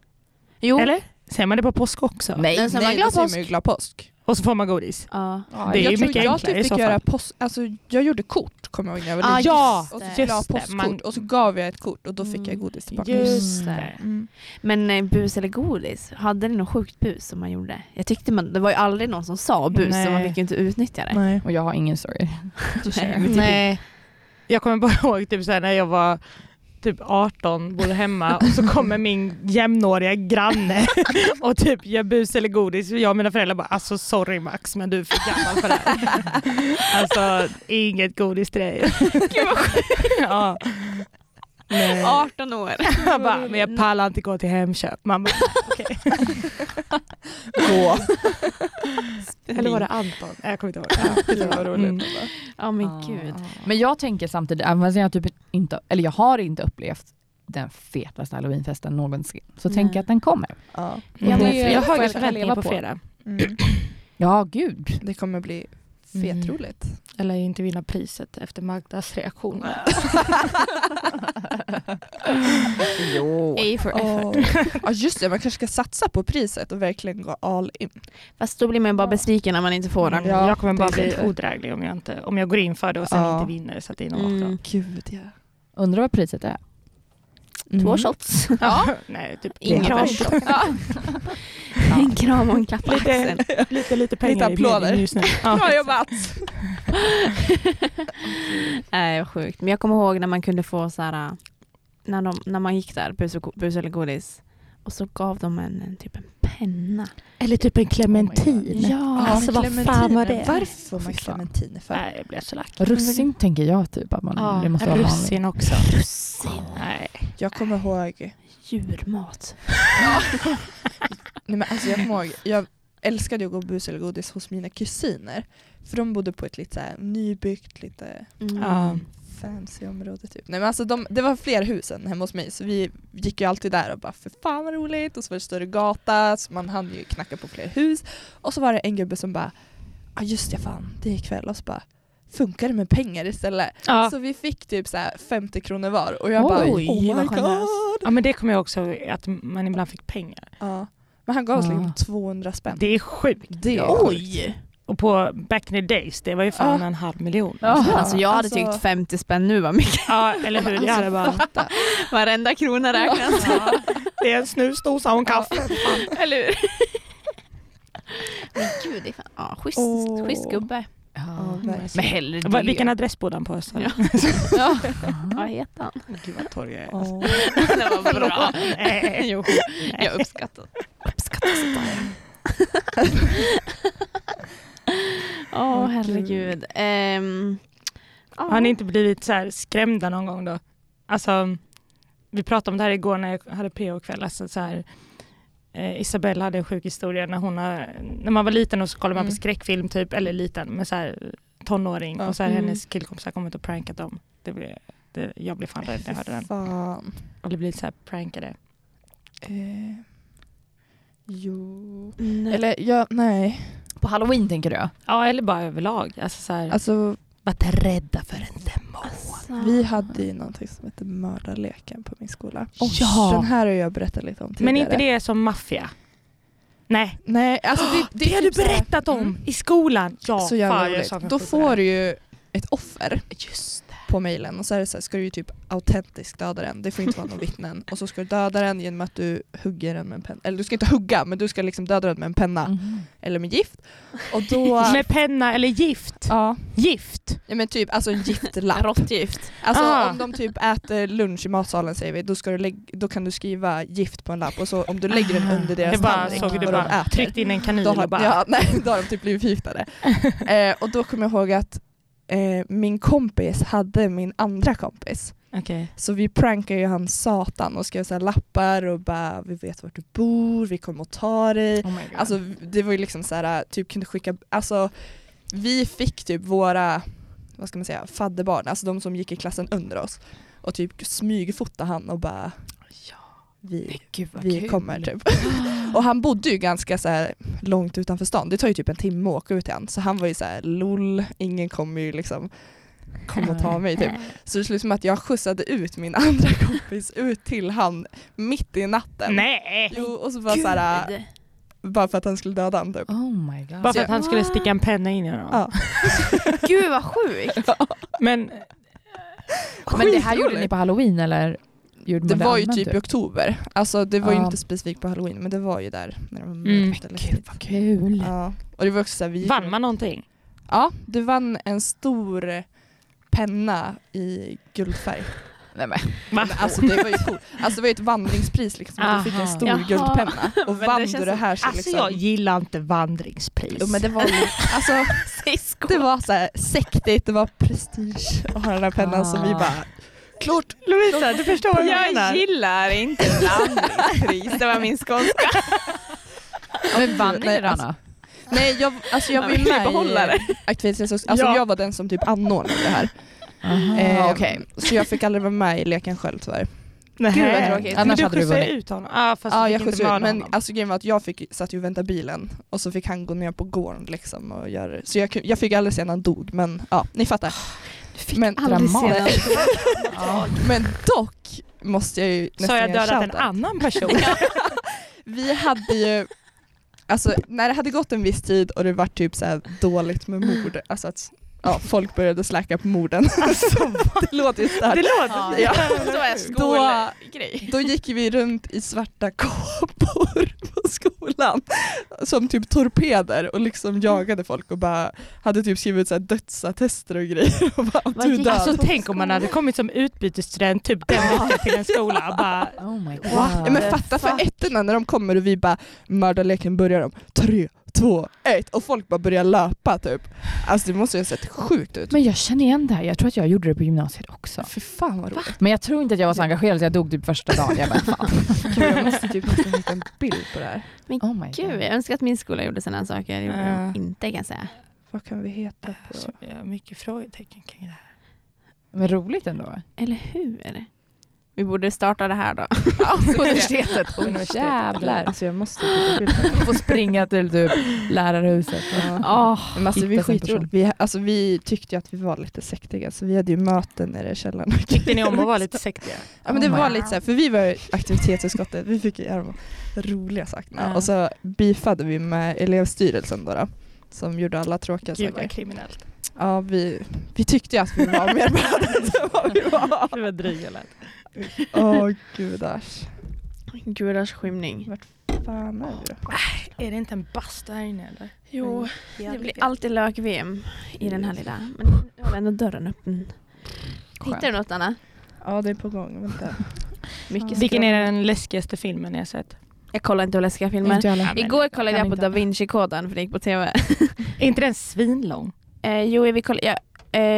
Jo.
Eller? Säger man det på påsk också?
Nej.
Den som var
Nej, då
glad
säger
påsk.
man ju glad påsk.
Och så får man godis?
Ja.
Ja,
Det är
jag
ju
tror
mycket
jag
enklare
typ
i
fick
så fall.
göra post, alltså jag gjorde kort kommer jag ihåg när jag var
Ja,
liten.
Ja,
och så
Ah, just
skulle jag ha
det. Man-
postkort och så gav jag ett kort och då fick jag
Mm.
godis tillbaka.
Just
Mm.
det.
Mm.
Men eh, bus eller godis, hade ni något sjukt bus som man gjorde? Jag tyckte man, det var ju aldrig någon som sa bus så man
Nej.
fick ju inte utnyttja det.
Nej.
Och jag har ingen story.
Nej. Jag kommer bara ihåg typ såhär när jag var typ 18, bodde hemma och så kommer min jämnåriga granne och typ gör bus eller godis och jag och mina föräldrar bara alltså sorry Max men du är för gammal för det här. Alltså inget godis till dig.
Gud vad
Ja. Nej.
18 år.
Jag bara, men jag pallar inte gå till Hemköp. Mamma, okej.
Gå!
Eller var det Anton? Nej, Jag kommer inte ihåg. Ja,
Det var roligt.
Mm.
Ja men gud.
Men jag tänker samtidigt, även fast jag, typ inte, eller jag har inte upplevt den fetaste halloweenfesten någonsin, så
Nej.
tänker jag att den kommer.
Ja.
Ja, men jag
Jag, Mm. jag har
får
höga
jag leva
förväntningar på
på.
fredag.
Mm.
Ja, gud.
Det kommer bli
Mm.
fetroligt.
Eller inte vinna priset efter Magdas reaktioner.
jo.
A for effort.
Åh. Ja just det, man kanske ska satsa på priset och verkligen gå all in.
Fast då blir man ju bara
Ja.
besviken när man inte får den.
Ja,
jag kommer bara
det är
bli
sant.
odräglig om jag, inte, om jag går in för det och sen
Ja.
inte vinner. Så att det är något
Mm.
mm.
Gud ja.
Undrar vad priset är.
Mm.
Två shots.
ja. Nej, typ
Ingen
kram.
kram. En kram och en klapp på axeln.
Lite, lite, lite pengar
Lite
i
applåder.
meningen just nu.
Bra
Ja.
jobbat!
Nej vad sjukt. Men jag kommer ihåg när man kunde få så här, när, de, när man gick där, bus, och, go- bus eller godis. Och så gav de en, en typ en penna. penna.
Eller typ en
Oh
Oh
clementin.
Ja.
Alltså, vad fan var det?
Varför får man
Fy fan.
clementiner för?
Nej, jag blev så lack.
Russin tänker jag typ att man, det måste vara vanligt.
russin också.
Russin.
Nej.
Jag kommer ihåg
Djurmat.
Nej, men alltså jag kommer ihåg, jag älskade ju att gå bus eller godis hos mina kusiner. För de bodde på ett lite så här nybyggt, lite
Mm.
Ja.
fancy område typ. Nej men alltså de, det var fler hus än hemma hos mig så vi gick ju alltid där och bara för fan vad roligt och så var det större gata så man hann ju knacka på fler hus. Och så var det en gubbe som bara ja ah, just det fan det är ikväll och så bara funkar det med pengar istället?
Ja.
Så vi fick typ så här 50 kronor var och jag bara
Oj,
oh my
vad generöst.
god.
ja men det kommer jag också ihåg, att man ibland fick pengar.
Ja. Men han gav oss
Ja.
liksom 200 spänn.
Det är sjukt.
Det är
Oj!
Och på back in the days, det var ju fan
Ja.
en halv miljon.
Ja.
Alltså jag hade
alltså-
tyckt 50 spänn nu var mycket.
Ja, eller hur?
Alltså,
Jag hade bara,
fatta.
Varenda krona räknas.
ja, det är en snusdosa och en kaffe.
Eller hur? Men gud, det är fan, ja, schysst,
Åh.
schysst gubbe.
Ja.
verkligen.
Men hellre det.
Vad- Vilken adress bodde han på? Så.
Ja.
Ja.
Vad heter han?
Gud vad torr jag är.
Åh.
Det var bra.
Nej.
Jo, jag uppskattar uppskattar sånt där. Åh herregud. Ehm, ja.
Har ni inte blivit så här skrämda någon gång då? Alltså, vi pratade om det här igår när jag hade PO-kväll. Alltså så här, eh, Isabella hade en sjuk historia när hon har, när man var liten och så kollade man
Mm.
på skräckfilm typ, eller liten, men så här tonåring
Ja.
och så här
Mm.
hennes killkompisar kommit och prankat dem. Det blev, det, jag blev fan rädd när jag hörde den.
Fan.
Och det blev så här prankade.
Eh, jo.
Mm,
Eller ja, nej.
På halloween tänker du?
Ja, eller bara överlag. Alltså så här,
Alltså
varit rädda för en demon.
alltså.
vi
Ah.
hade ju någonting som hette mördarleken på min skola.
Ja.
Den här har jag berättat lite om tidigare.
Men inte det som maffia? Nej,
Nej, alltså det, det,
det har du
typ så här-
berättat om
Mm.
i skolan. Ja,
Så jävla
fan, jag är så
roligt. Då
avundsjuk på det.
får du ju ett offer på mejlen och så är det så här, ska du ju typ autentiskt döda den, det får inte vara någon vittnen. Och så ska du döda den genom att du hugger den med en penna. Eller du ska inte hugga men du ska liksom döda den med en penna eller med gift. Och då...
Mm. Med penna eller gift?
ja.
Gift!
Ja, men typ alltså en giftlapp.
Råttgift.
Alltså
Ah.
om de typ äter lunch i matsalen säger vi, då, ska du lägg- då kan du skriva gift på en lapp och så om du lägger den under
Det
deras
bara
tallrik
såg du
vad de
bara
äter,
tryckt in en kanin
då har,
och bara...
ja, nej, då har de typ blivit förgiftade. eh, och då kommer jag ihåg att eh, min kompis hade min andra kompis.
Okej.
Så vi prankade ju han satan och skrev så här lappar och bara vi vet vart du bor, vi kommer att ta dig.
Oh
Mm.
my God.
Alltså det var ju liksom så här, typ kunde skicka, alltså vi fick typ våra, vad ska man säga, fadderbarn, alltså de som gick i klassen under oss och typ smygfota han och bara vi,
Gud, vad
vi
kul.
kommer typ. och han bodde ju ganska så här långt utanför stan, det tar ju typ en timme att åka ut till han så han var ju så här lol, ingen kommer ju liksom komma och ta mig typ. Så det slutade som att jag skjutsade ut min andra kompis ut till han mitt i natten.
Nej!
Jo, och så bara så här, äh,
Gud.
bara för att han skulle döda han typ.
Oh my god.
Bara för att han skulle sticka en penna in i honom.
Ja.
Gud vad sjukt.
Men
Men det här gjorde
Skitroligt.
ni på halloween eller? Gjorde
Det
man
var ju
annan
typ i oktober. Alltså det var ju
Ja.
inte specifikt på halloween men det var ju där när det var
Mm.
mörkt. eller
Gud
tidigt.
vad kul.
Ja. Och det var också så här, vi gick
vann man någonting?
Ja, du vann en stor penna i guldfärg.
Nej, men.
Va?
Men alltså det var ju coolt. Alltså det var ju ett vandringspris liksom. och
Aha.
Du fick en stor
Jaha.
guldpenna och
Men det
vann
känns
du det här så
Alltså
liksom.
jag gillar inte vandringspris.
Jo men det var ju, alltså
Säg skål.
det var så här sektigt, det var prestige att ha den här pennan som vi bara Klart!
Lovisa, du förstår vad jag menar?
Jag gillar inte landningskris. Det var min skånska.
Men vann ni det
Nej,
då?
alltså- Nej jag, alltså jag
Man
var ju
vill ju
med
behålla det.
i aktivitetsresurs, alltså
Ja. Mm,
jag var den som typ anordnade det här.
Aha,
Eh,
okej.
Så jag fick aldrig vara med i leken själv tyvärr.
Nej.
Gud, vad tråkigt.
Men
Annars
du
hade du
skjutsade
vunnit.
ut honom? Ja fast
ja
du
jag
fick inte
skjutsade
mörda
ut men
honom.
alltså grejen var att jag fick, satt ju och väntade bilen och så fick han gå ner på gården liksom och göra det. Så jag, jag fick aldrig se när han dog men ja, ni fattar. men,
Aldrig
Dramat.
senare.
Ja.
men dock måste jag ju
Så har jag
ge
dödat en
shoutout.
annan person?
Vi hade ju Alltså när det hade gått en viss tid och det var typ så här dåligt med mord, alltså att, ja, folk började släcka på morden. det låter ju
Alltså, Det
starkt.
låter...
Ja.
Så är
Då-
grej.
Då gick vi runt i svarta kåpor på skolan som typ torpeder och liksom jagade folk och bara hade typ skrivit ut så här dödsattester och grejer. Och bara,
Vad
du
gick-
dör.
Alltså tänk om man hade kommit som utbytesstudent typ den veckan till en skola och bara
Oh my god.
Va? Ja, men
the
fatta för
fuck?
ettorna när de kommer och vi bara mördarleken börjar om tre, två, ett och folk bara börjar löpa typ. Alltså det måste ju ha sett sjukt ut.
Men jag känner igen det här. Jag tror att jag gjorde det på gymnasiet också.
Fy fan vad roligt.
Men jag tror inte att jag var så engagerad så jag dog typ första dagen. Jag bara, fan.
Jag måste typ hitta en bild på det här.
Oh my god.
Gud, jag önskar att min skola gjorde sådana saker. Det gjorde
Ja.
de inte kan jag säga.
Vad kan vi heta på?
Ja, mycket frågetecken kring det här.
Men roligt ändå.
Eller hur? Vi borde starta det här då.
Universitetet.
Universitetet.
jävlar.
Alltså jag måste hitta bilden.
Får springa till typ lärarhuset. Ah,
Ja. Men alltså vi är
Hitta sin
skitroligt. Vi, alltså, vi tyckte ju att vi var lite sektiga så vi hade ju möten nere i källaren.
Tyckte ni om att vara lite sektiga?
Ja men det
Oh my
var
God.
lite såhär, för vi var ju aktivitetsutskottet, vi fick ju göra de roliga sakerna.
Ja.
Och så bifade vi med elevstyrelsen då, då som gjorde alla tråkiga
Gud
saker.
vad kriminellt.
Ja vi, vi tyckte ju att vi var mer värda än vad vi var.
Det var dryga lät.
Åh gudars.
Gudars skymning.
Fan är vi då?
Äh, Är det inte en bastu här inne eller?
Jo, Mm. det
Jävligt
blir
gött.
alltid lök-VM i den här lilla. Men nu har vi ändå dörren öppen.
Skönt.
Hittar du något Anna?
Ja det är på gång, vänta.
Mycket
Vilken är den läskigaste filmen ni har sett?
Jag kollar inte på läskiga filmer.
Inte jag heller.
men
Igår
jag
kollade
kan
jag på
inte.
Da Vinci-koden för det gick på tv.
Är inte den svinlång?
Eh, jo, vi kollade, jag,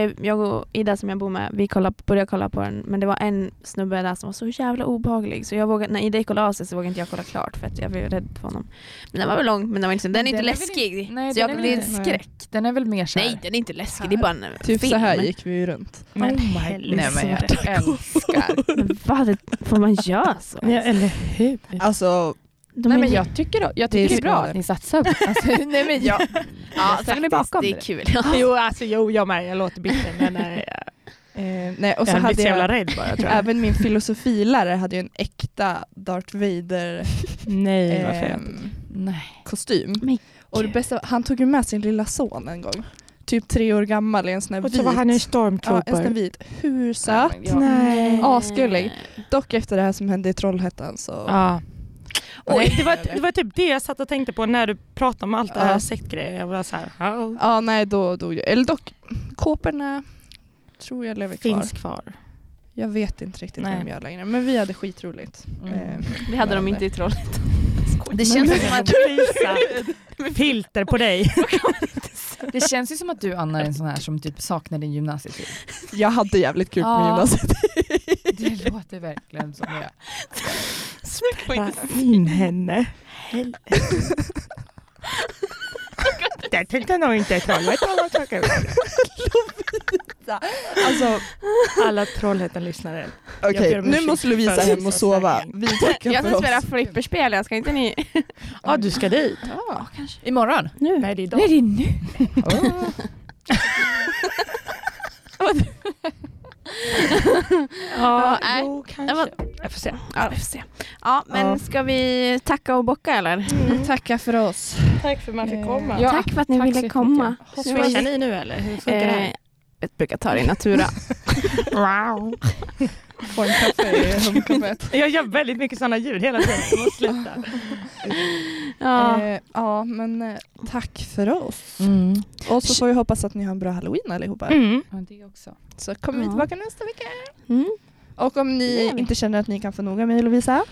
eh, jag och Ida som jag bor med, vi kollade, började kolla på den men det var en snubbe där som var så jävla obehaglig så jag vågade, när Ida gick och la sig så vågade inte jag kolla klart för att jag blev rädd för honom. Men den var väl lång, men den, var inte, den är inte
Den är väl
läskig.
inte- nej,
så
den
jag,
är
det är
väl
en
inte-
skräck.
Den är väl mer såhär.
Nej, den är inte läskig, det är bara en
Typ
film.
så här gick vi ju runt.
Men
Nej men jag älskar.
Men vad, det- får man göra så?
Ja, eller hur?
Alltså
De
nej
är
men
ju-
jag tycker, jag
Det är
tycker det är bra
smart.
att ni satsar på alltså, Nej men jag,
ja,
jag ställer mig
faktiskt,
bakom
det är
det.
kul.
Jo, alltså jo, jag med. Jag låter bitter men eh,
eh, nej,
jag
och
hade
så
blivit
hade
så jävla
jag,
rädd bara tror jag.
även min filosofilärare hade ju en äkta Darth Vader
Nej, vad
eh,
fint.
Nej.
kostym.
Men
Och det bästa, var- han tog ju med sin lilla son en gång. Typ tre år gammal i en sån här
Och
vit.
så var han en
ja, en
stormtrooper.
sån här vit. Hur söt.
Nej.
Asgullig. Dock efter det här som hände i Trollhättan så...
Ja. Oj, det, var,
Eller?
det var typ det jag satt och tänkte på när du pratade om allt det här
Ja.
sektgrejer. Jag var så här, ja,
Ja, nej då dog jag. Eller dock, kåporna tror jag lever kvar.
finns kvar.
Jag vet inte riktigt
Nej. Mm.
vem jag är längre. Men vi hade skitroligt. Eh,
Vi hade dem
men-
inte i Trollhättan.
Mm. Det känns, som att,
Visa filter på dig.
det känns ju som att du Anna är en sån här som typ saknar din gymnasietid.
Jag hade jävligt kul på
Ja.
gymnasiet.
Det låter verkligen som det.
Spela in henne. Helvete. Där tänkte nog inte Trollhättan vara tråkig.
Alltså
Alla Trollhättan-lyssnare. ber
okej,
om
nu
ursäkt
måste Lovisa
för
hem och
Lovisa
sova.
svängning.
Vi tackar
Jag
för
ska
oss.
spela flipperspel, jag ska inte ni...
Ja, du ska dit.
Ja.
Imorgon?
Nu.
Nej, det är idag.
Nej det är nu.
Ja,
nej.
jo,
Jag
kanske.
var-
Jag får se.
Ja, vi får se. Ja, men
Ja.
ska vi tacka och bocka eller?
Tackar för oss.
Tack för att man fick komma.
Ja,
Tack för att ni
tack så
ville
mycket.
komma. Det var-
Swishar ni nu eller? Hur funkar det
Eh,
här?
jag brukar ta det i natura.
Wow.
Få en kaffe i hemkaffet.
Jag gör väldigt mycket sådana ljud hela tiden. Jag måste sluta.
ja.
Eh, ja men eh, tack för oss.
Mm.
Och så får vi hoppas att ni har en bra halloween allihopa.
Eh,
Mm.
Ja, det också.
Så kommer vi
Ja.
tillbaka nästa vecka.
mm.
Och om
Det
ni
gör vi.
inte känner att ni kan få nog av mig och Lovisa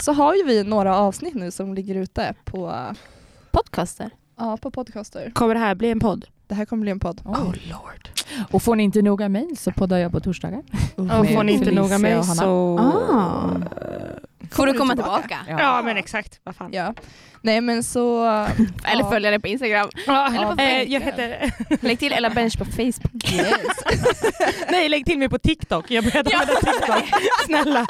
så har ju vi några avsnitt nu som ligger ute på,
Podcaster.
ja, på podcaster.
Kommer det här bli en podd?
Det här kommer bli en podd.
Oh lord. Och får ni inte noga mejl så poddar jag på torsdagar.
Och får ni inte
Felicia
noga mig
och Hanna.
så...
Ah. Får du komma tillbaka?
Ja men exakt, vad fan.
Ja. Nej men så...
Eller
Ja.
följa det på Instagram.
Ja.
på
Eh, jag heter...
Lägg till Ella Bench på Facebook.
Yes.
Nej lägg till mig på TikTok, jag började använda TikTok. Snälla.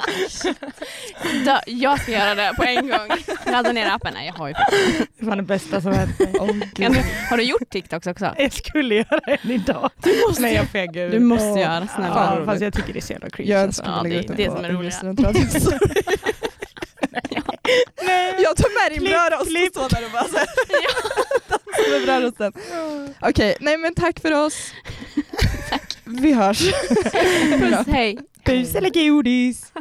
Då, jag ska göra det på en gång. Ladda ner appen. Nej, jag har ju
Det var det bästa som hänt mig.
Åh,
kan
gud.
du, Har du gjort TikToks också?
Jag skulle göra en idag. Du måste. Men jag fegar ur.
Du måste göra, snälla.
Ja, fast jag tycker det är så jävla cringe.
Jag
alltså.
önskar
Ja,
man lägger
det-
ut den
det
på
som är roligt.
Instagram. Jag tar med din brödrost och står där och bara såhär. Dansar med brödrosten. Okej, nej men tack för oss. Vi hörs.
Puss, hej.
Bus eller godis?